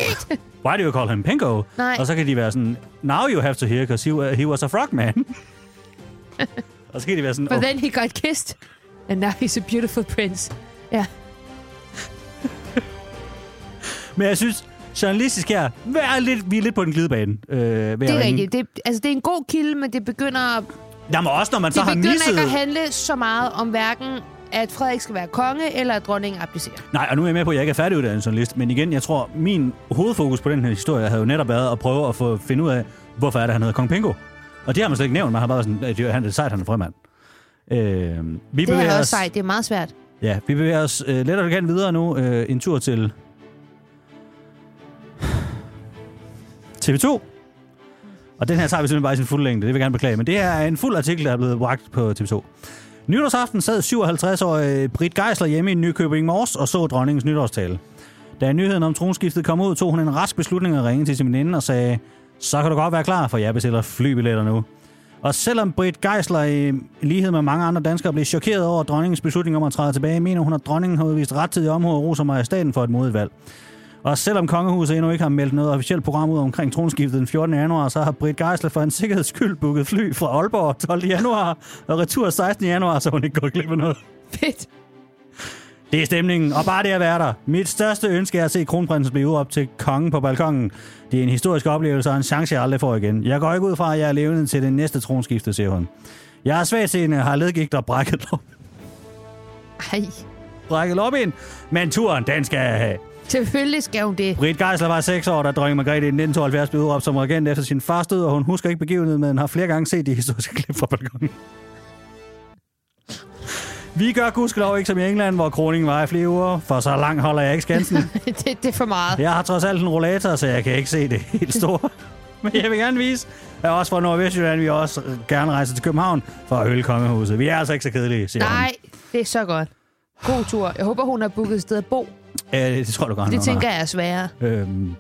[SPEAKER 2] why do you call him Pingo?
[SPEAKER 3] Nej.
[SPEAKER 2] Og så kan de være sådan, now you have to hear, because he, wa- he was a frogman. og så kan de være sådan,
[SPEAKER 3] But
[SPEAKER 2] oh,
[SPEAKER 3] then he got kissed. And now he's a beautiful prince. Ja.
[SPEAKER 2] men jeg synes, journalistisk her, vær lidt, vi er lidt på den glidebane. Øh,
[SPEAKER 3] Det er rigtigt. Det, altså, det er en god kilde, men det begynder,
[SPEAKER 2] Jamen også, når man så
[SPEAKER 3] det
[SPEAKER 2] har
[SPEAKER 3] begynder
[SPEAKER 2] misset...
[SPEAKER 3] ikke at handle så meget om hverken, at Frederik skal være konge, eller at dronningen applicerer.
[SPEAKER 2] Nej, og nu er jeg med på, at jeg ikke er færdiguddannet journalist, men igen, jeg tror, min hovedfokus på den her historie havde jo netop været at prøve at få finde ud af, hvorfor er det, han hedder Kong Pingo. Og det har man slet ikke nævnt, man har bare været sådan, at det er- han er sejt, han er frømand. Øh, vi
[SPEAKER 3] Det
[SPEAKER 2] bevæger
[SPEAKER 3] er
[SPEAKER 2] os,
[SPEAKER 3] også sejt. Det er meget svært.
[SPEAKER 2] Ja, vi bevæger os øh, let og elegant videre nu. Øh, en tur til TV2. Og den her tager vi simpelthen bare i sin fulde længde. Det vil jeg gerne beklage. Men det her er en fuld artikel, der er blevet bragt på TV2. Nytårsaften sad 57-årig Britt Geisler hjemme i Nykøbing Mors og så dronningens nytårstale. Da nyheden om tronskiftet kom ud, tog hun en rask beslutning at ringe til sin veninde og sagde, så kan du godt være klar, for jeg bestiller flybilletter nu. Og selvom Britt Geisler i lighed med mange andre danskere blev chokeret over dronningens beslutning om at træde tilbage, mener hun, at dronningen har udvist rettidig omhu og roser majestaten for et modigt valg. Og selvom kongehuset endnu ikke har meldt noget officielt program ud omkring tronskiftet den 14. januar, så har Britt Geisler for en sikkerheds skyld booket fly fra Aalborg 12. januar og retur 16. januar, så hun ikke går glip af noget.
[SPEAKER 3] Fedt.
[SPEAKER 2] Det er stemningen, og bare det at være der. Mit største ønske er at se kronprinsen blive op til kongen på balkongen. Det er en historisk oplevelse og en chance, jeg aldrig får igen. Jeg går ikke ud fra, at jeg er levende til det næste tronskifte, siger hun. Jeg er svagt seende, har ledgigt og brækket op,
[SPEAKER 3] Ej.
[SPEAKER 2] brækket op ind, men turen, den skal jeg have.
[SPEAKER 3] Selvfølgelig skal hun det.
[SPEAKER 2] Britt Geisler var 6 år, da dronning Margrethe i 1972 blev udråbt som regent efter sin fars død, og hun husker ikke begivenheden, men har flere gange set de historiske klip fra balkonen. Vi gør gudskelov ikke som i England, hvor kroningen var i flere uger, for så langt holder jeg ikke skansen.
[SPEAKER 3] det, det er for meget.
[SPEAKER 2] Jeg har trods alt en rollator, så jeg kan ikke se det helt store. Men jeg vil gerne vise, at også fra Nordvestjylland, vi også gerne rejser til København for at hylde kongehuset. Vi er altså ikke så kedelige, siger
[SPEAKER 3] Nej, det er så godt. God tur. Jeg håber, hun har booket et sted at bo.
[SPEAKER 2] hun. Øh, det tror du godt,
[SPEAKER 3] Det tænker jeg er sværere.
[SPEAKER 2] Øhm.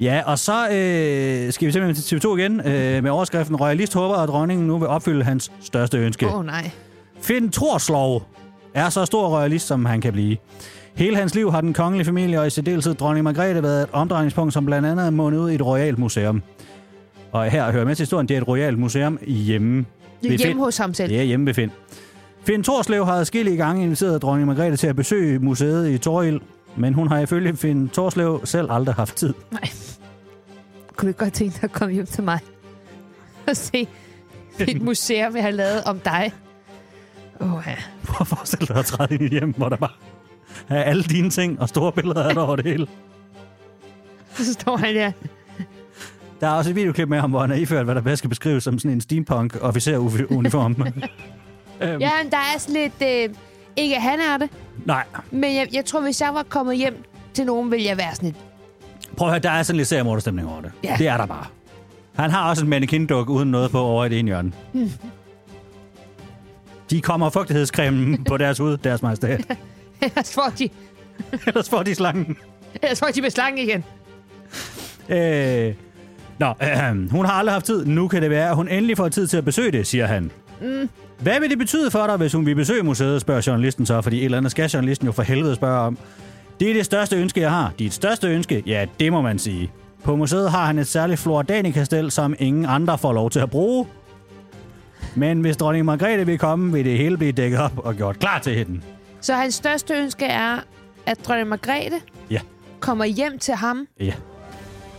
[SPEAKER 2] Ja, og så øh, skal vi simpelthen til TV2 igen øh, med overskriften Royalist håber, at dronningen nu vil opfylde hans største ønske.
[SPEAKER 3] Åh oh, nej.
[SPEAKER 2] Finn Torslov er så stor royalist, som han kan blive. Hele hans liv har den kongelige familie og i særdeleshed dronning Margrethe været et omdrejningspunkt, som blandt andet er mundet ud i et royalt museum. Og her hører med til historien, det er et royalt museum hjemme ved Finn.
[SPEAKER 3] Hjemme hos ham selv.
[SPEAKER 2] Det er hjemme ved Finn. Finn Torslev har adskillige gange inviteret dronning Margrethe til at besøge museet i Toril, men hun har ifølge Finn Torslev selv aldrig haft tid.
[SPEAKER 3] Nej. Kunne du ikke godt tænke dig at komme hjem til mig? Og se et museum, jeg har lavet om dig. Åh oh, ja.
[SPEAKER 2] Prøv at forestille dig at træde ind i et hjem, hvor der bare er alle dine ting og store billeder af dig over det hele.
[SPEAKER 3] Så står han der.
[SPEAKER 2] Der er også et videoklip med ham, hvor han er iført, hvad der bedst kan beskrives som sådan en steampunk-officer-uniform. øhm,
[SPEAKER 3] Ja, men der er sådan lidt... Øh, ikke at han er det,
[SPEAKER 2] Nej,
[SPEAKER 3] men jeg, jeg tror, hvis jeg var kommet hjem til nogen, ville jeg være sådan lidt...
[SPEAKER 2] prøv at høre, der er sådan lidt seriemorderstemning over det.
[SPEAKER 3] Ja.
[SPEAKER 2] Det er der bare. Han har også en mannequin-duk uden noget på over i det ene hjørne. De kommer fugtighedscremen på deres hud, deres majestæt.
[SPEAKER 3] Ellers får de,
[SPEAKER 2] Ellers får de slangen.
[SPEAKER 3] ellers får de med slangen igen.
[SPEAKER 2] Øh, nå, øh, hun har aldrig haft tid. Nu kan det være, at hun endelig får tid til at besøge det, siger han. Mm. Hvad vil det betyde for dig, hvis hun vil besøge museet, spørger journalisten så, fordi et eller andet skal journalisten jo for helvede spørge om. Det er det største ønske, jeg har. Dit største ønske? Ja, det må man sige. På museet har han et særligt Flordanikastel, som ingen andre får lov til at bruge. Men hvis dronning Margrethe vil komme, vil det hele blive dækket op og gjort klar til hende.
[SPEAKER 3] Så hans største ønske er, at dronning Margrethe
[SPEAKER 2] Ja,
[SPEAKER 3] kommer hjem til ham,
[SPEAKER 2] ja.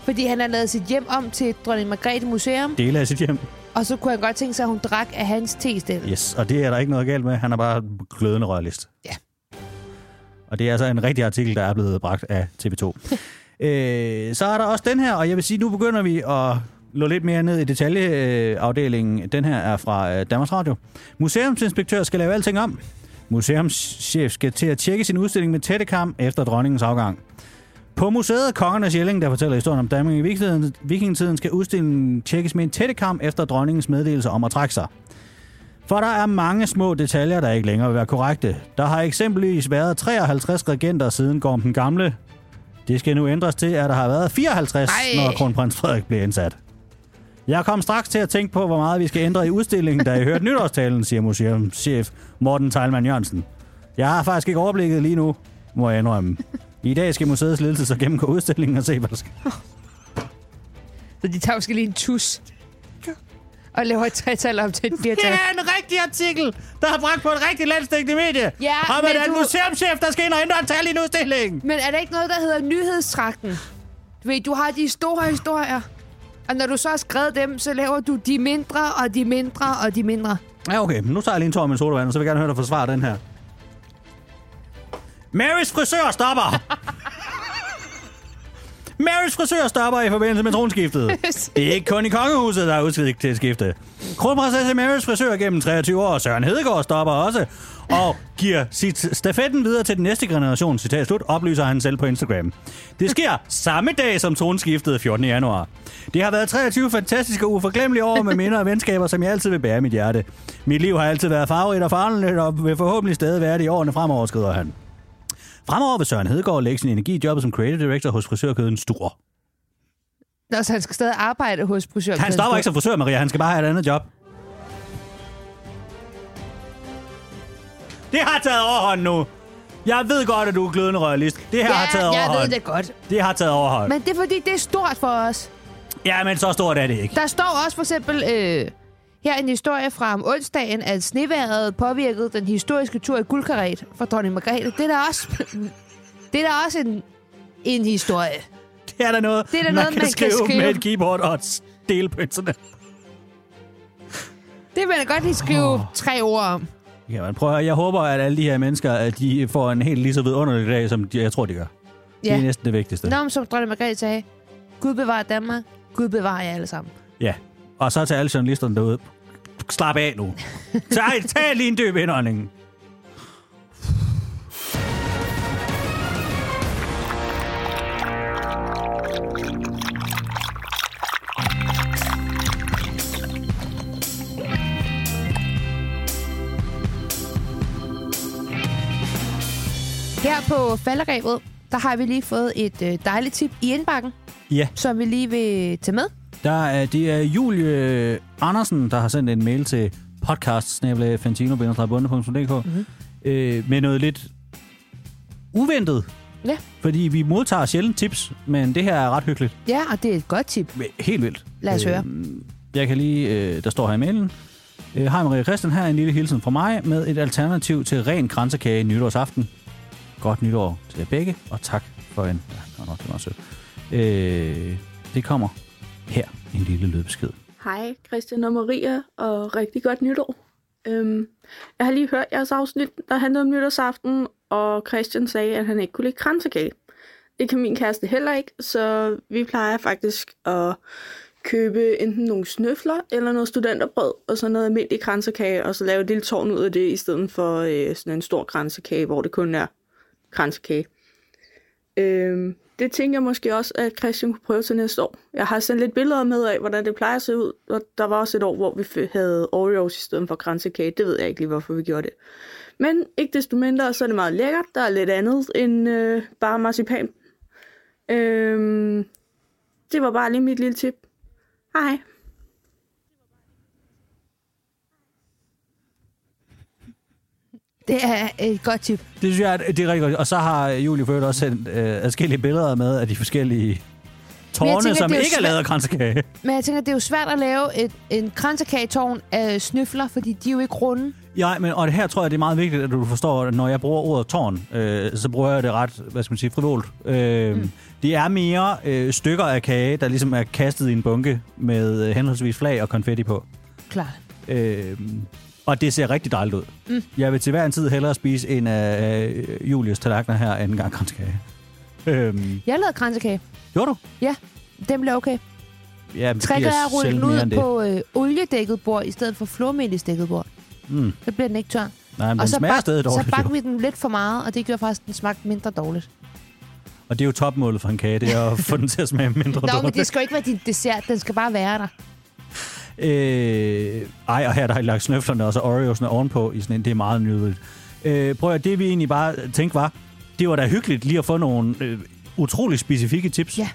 [SPEAKER 3] fordi han har lavet sit hjem om til et dronning Margrethe Museum,
[SPEAKER 2] Dele af sit hjem.
[SPEAKER 3] og så kunne han godt tænke sig, at hun drak af hans testel.
[SPEAKER 2] Yes, og det er der ikke noget galt med. Han er bare glødende royalist.
[SPEAKER 3] Ja.
[SPEAKER 2] Og det er altså en rigtig artikel, der er blevet bragt af TV2. øh, så er der også den her, og jeg vil sige, nu begynder vi at lå lidt mere ned i detaljeafdelingen. Den her er fra øh, Danmarks Radio. Museumsinspektør skal lave alting om. Museumschef skal til at tjekke sin udstilling med tætte kam efter dronningens afgang. På museet Kongernes Jelling, der fortæller historien om Danmark i vikingetiden, vikingetiden, skal udstillingen tjekkes med en tætte kam efter dronningens meddelelse om at trække sig. For der er mange små detaljer, der ikke længere vil være korrekte. Der har eksempelvis været 53 regenter siden Gorm den Gamle. Det skal nu ændres til, at der har været 54, Ej.
[SPEAKER 3] Ej.
[SPEAKER 2] når kronprins Frederik blev indsat. Jeg kom straks til at tænke på, hvor meget vi skal ændre i udstillingen, da jeg hørte nytårstalen, siger museumschef Morten Teilmann Jørgensen. Jeg har faktisk ikke overblikket lige nu, må jeg indrømme. I dag skal museets ledelse så gennemgå udstillingen og se, hvad der skal.
[SPEAKER 3] Så de tager måske lige en tus og laver et tretal om til et firtal.
[SPEAKER 2] en rigtig artikel, der har bragt på et rigtig landstækkende medie.
[SPEAKER 3] Ja, om, at men der er en du-
[SPEAKER 2] museumschef, der skal ind og ændre et tal i en udstilling.
[SPEAKER 3] Men er der ikke noget, der hedder nyhedstrakten? Du ved, du har de store historier, og når du så har skrevet dem, så laver du de mindre og de mindre og de mindre.
[SPEAKER 2] Ja, okay. Men nu tager jeg lige en tår med en sodavand, og så vil jeg gerne høre dig forsvare den her. Marys frisør stopper! Marys frisør stopper i forbindelse med tronskiftet. Det er ikke kun i kongehuset, der er udsigt til et skifte. Kronprinsesse Marys frisør gennem 23 år, Søren Hedegaard, stopper også. Og giver sit stafetten videre til den næste generation, citat slut, oplyser han selv på Instagram. Det sker samme dag som tronskiftet 14. januar. Det har været 23 fantastiske og uforglemmelige år med minder og venskaber, som jeg altid vil bære i mit hjerte. Mit liv har altid været farverigt og farligt, og vil forhåbentlig stadig være det i årene fremover, skriver han. Fremover vil Søren Hedegaard lægge sin energi i jobbet som creative director hos frisørkæden Stur.
[SPEAKER 3] Nå, så han skal stadig arbejde hos frisøren.
[SPEAKER 2] Han stopper ikke som frisør, Maria. Han skal bare have et andet job. Det har taget overhånd nu. Jeg ved godt, at du er glødende royalist. Det her
[SPEAKER 3] Ja,
[SPEAKER 2] har taget
[SPEAKER 3] jeg
[SPEAKER 2] overhånd.
[SPEAKER 3] ved det godt.
[SPEAKER 2] det har taget overhånd. Men...
[SPEAKER 3] Men det er fordi, det er stort for os.
[SPEAKER 2] Ja, men så stort er det ikke.
[SPEAKER 3] Der står også for eksempel øh, her en historie fra om onsdagen, at sneværet påvirkede den historiske tur i guldkaret for dronning Margrethe. Det er da også, det er da også en, en historie.
[SPEAKER 2] Det er der noget,
[SPEAKER 3] Det er der noget, man kan
[SPEAKER 2] skrive,
[SPEAKER 3] skrive.
[SPEAKER 2] med et keyboard og et delpønserne.
[SPEAKER 3] Det vil jeg godt lige skrive oh. tre ord om.
[SPEAKER 2] Jamen, prøv at høre. Jeg håber, at alle de her mennesker, at de får en helt lige så vidunderlig dag, som de, jeg tror, de gør. Det
[SPEAKER 3] Ja.
[SPEAKER 2] er næsten det vigtigste.
[SPEAKER 3] Nå, men som dronning Margrethe sagde, Gud bevarer Danmark, Gud bevarer jer alle sammen.
[SPEAKER 2] Ja, og så til alle journalisterne derude. Slap af nu. Tag, tag lige en dyb indånding.
[SPEAKER 3] Her på falderæbet, der har vi lige fået et øh, dejligt tip i indbakken,
[SPEAKER 2] Ja,
[SPEAKER 3] som vi lige vil tage med.
[SPEAKER 2] der er, det er Julie Andersen, der har sendt en mail til podcast
[SPEAKER 3] Mhm.
[SPEAKER 2] mm-hmm. øh, med noget lidt uventet,
[SPEAKER 3] Ja,
[SPEAKER 2] fordi vi modtager sjældent tips, men det her er ret hyggeligt.
[SPEAKER 3] ja og det er et godt tip.
[SPEAKER 2] Helt vildt.
[SPEAKER 3] Lad os høre.
[SPEAKER 2] Jeg kan lige, øh, der står her i mailen. Øh, Hej Maria Christian, her er en lille hilsen fra mig med et alternativ til ren kransekage nytårsaften. Godt nytår til jer begge, og tak for en... Ja, nå, nå, det var sødt. Øh, det kommer her, en lille lydbesked.
[SPEAKER 5] Hej Christian og Maria, og rigtig godt nytår. Øhm, jeg har lige hørt jeres afsnit, der handlede om nytårsaften, og Christian sagde, at han ikke kunne lide kransekage. Det kan min kæreste heller ikke, så vi plejer faktisk at købe enten nogle snøfler eller noget studenterbrød, og så noget almindelig kransekage, og så lave et lille tårn ud af det, i stedet for øh, sådan en stor kransekage, hvor det kun er kransekage. Øhm, det tænker jeg måske også, at Christian kunne prøve til næste år. Jeg har sendt lidt billeder med af, hvordan det plejer at se ud. Og der var også et år, hvor vi f- havde Oreos i stedet for kransekage. Det ved jeg ikke lige, hvorfor vi gjorde det. Men ikke desto mindre, så er det meget lækkert. Der er lidt andet end øh, bare marcipan. Øhm, det var bare lige mit lille tip. Hej.
[SPEAKER 3] Det er et godt tip.
[SPEAKER 2] Det synes jeg, at det er rigtig godt. Og så har Julie Født også sendt øh, adskillige billeder med af de forskellige tårne,
[SPEAKER 3] tænker,
[SPEAKER 2] tænker, som
[SPEAKER 3] det er jo
[SPEAKER 2] ikke er
[SPEAKER 3] svært-
[SPEAKER 2] lavet af kransekage.
[SPEAKER 3] Men jeg tænker, det er jo svært at lave et, en kransekagetårn af snøfler, fordi de er jo ikke runde.
[SPEAKER 2] Ja, men, og her tror jeg, det er meget vigtigt, at du forstår, at når jeg bruger ordet tårn, øh, så bruger jeg det ret, hvad skal man sige, frivolt. Øh, mm. Det er mere øh, stykker af kage, der ligesom er kastet i en bunke med øh, henholdsvis flag og konfetti på.
[SPEAKER 3] Klart.
[SPEAKER 2] Øh, og det ser rigtig dejligt ud. Mm. Jeg vil til hver en tid hellere spise en af øh, Julius tallerkener her, end en gang kranskage. Øh,
[SPEAKER 3] Jeg lavede kransekage.
[SPEAKER 2] gjorde du?
[SPEAKER 3] Den blev okay.
[SPEAKER 2] Ja, men det giver
[SPEAKER 3] Tricket er at rulle den
[SPEAKER 2] sjældent mere end
[SPEAKER 3] ud
[SPEAKER 2] det.
[SPEAKER 3] på øh, oliedækket bord, i stedet for flormelisdækket bord.
[SPEAKER 2] Mm.
[SPEAKER 3] Så bliver den ikke tør.
[SPEAKER 2] Nej, men den
[SPEAKER 3] og så,
[SPEAKER 2] smager
[SPEAKER 3] bag-
[SPEAKER 2] stadig dårligt.
[SPEAKER 3] så
[SPEAKER 2] jo.
[SPEAKER 3] bagte vi den lidt for meget, og det gjorde faktisk, at den smagte mindre dårligt.
[SPEAKER 2] Og det er jo topmålet for en kage, det er at få den til at smage mindre
[SPEAKER 3] Nå, men
[SPEAKER 2] dårligt.
[SPEAKER 3] det skal jo ikke være din dessert. Den skal bare være der.
[SPEAKER 2] Øh, ej, og her der har jeg lagt snøflerne og så Oreos'ne ovenpå i sådan en, det er meget nydeligt. Øh, prøv at det vi egentlig bare tænkte var, det var da hyggeligt lige at få nogle øh, utrolig specifikke tips.
[SPEAKER 3] Ja.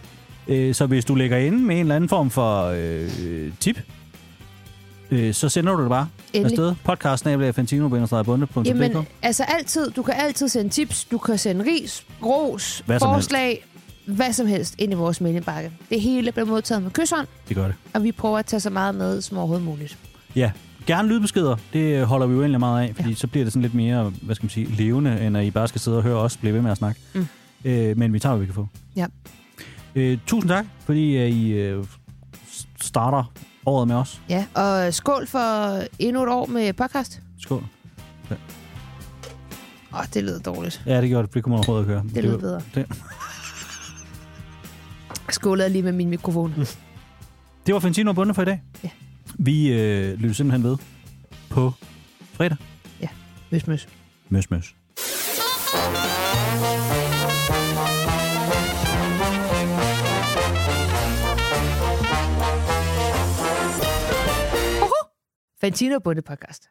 [SPEAKER 2] Øh, så hvis du lægger inde med en eller anden form for øh, tip, øh, så sender du det bare
[SPEAKER 3] Endelig.
[SPEAKER 2] afsted. Podcast
[SPEAKER 3] Jamen,
[SPEAKER 2] Fantino
[SPEAKER 3] altså altid. Du kan altid sende tips. Du kan sende ris, ros,
[SPEAKER 2] Hvad som
[SPEAKER 3] forslag, hvad som helst ind i vores mailbakke. Det hele bliver modtaget med kysshånd,
[SPEAKER 2] Det gør det.
[SPEAKER 3] og vi prøver at tage så meget med som overhovedet muligt.
[SPEAKER 2] Ja, gerne lydbeskeder. Det øh, holder vi jo egentlig meget af, fordi ja. så bliver det sådan lidt mere, hvad skal man sige, levende, end at I bare skal sidde og høre os blive ved med at snakke.
[SPEAKER 3] Mm.
[SPEAKER 2] Øh, men vi tager, hvad vi kan få.
[SPEAKER 3] Ja.
[SPEAKER 2] Øh, tusind tak, fordi øh, I øh, s- starter året med os.
[SPEAKER 3] Ja, og skål for endnu et år med podcast.
[SPEAKER 2] Skål.
[SPEAKER 3] Åh, det lyder dårligt.
[SPEAKER 2] Ja, det gjorde det. Det kunne man overhovedet ikke høre.
[SPEAKER 3] Det lyder bedre.
[SPEAKER 2] Det,
[SPEAKER 3] Skålede lige med min mikrofon.
[SPEAKER 2] det var Fantino og Bunde for i dag.
[SPEAKER 3] Ja.
[SPEAKER 2] Vi øh, lytter simpelthen ved på fredag.
[SPEAKER 3] Møs, møs.
[SPEAKER 2] Møs, møs.
[SPEAKER 3] Fantino Bunde podcast.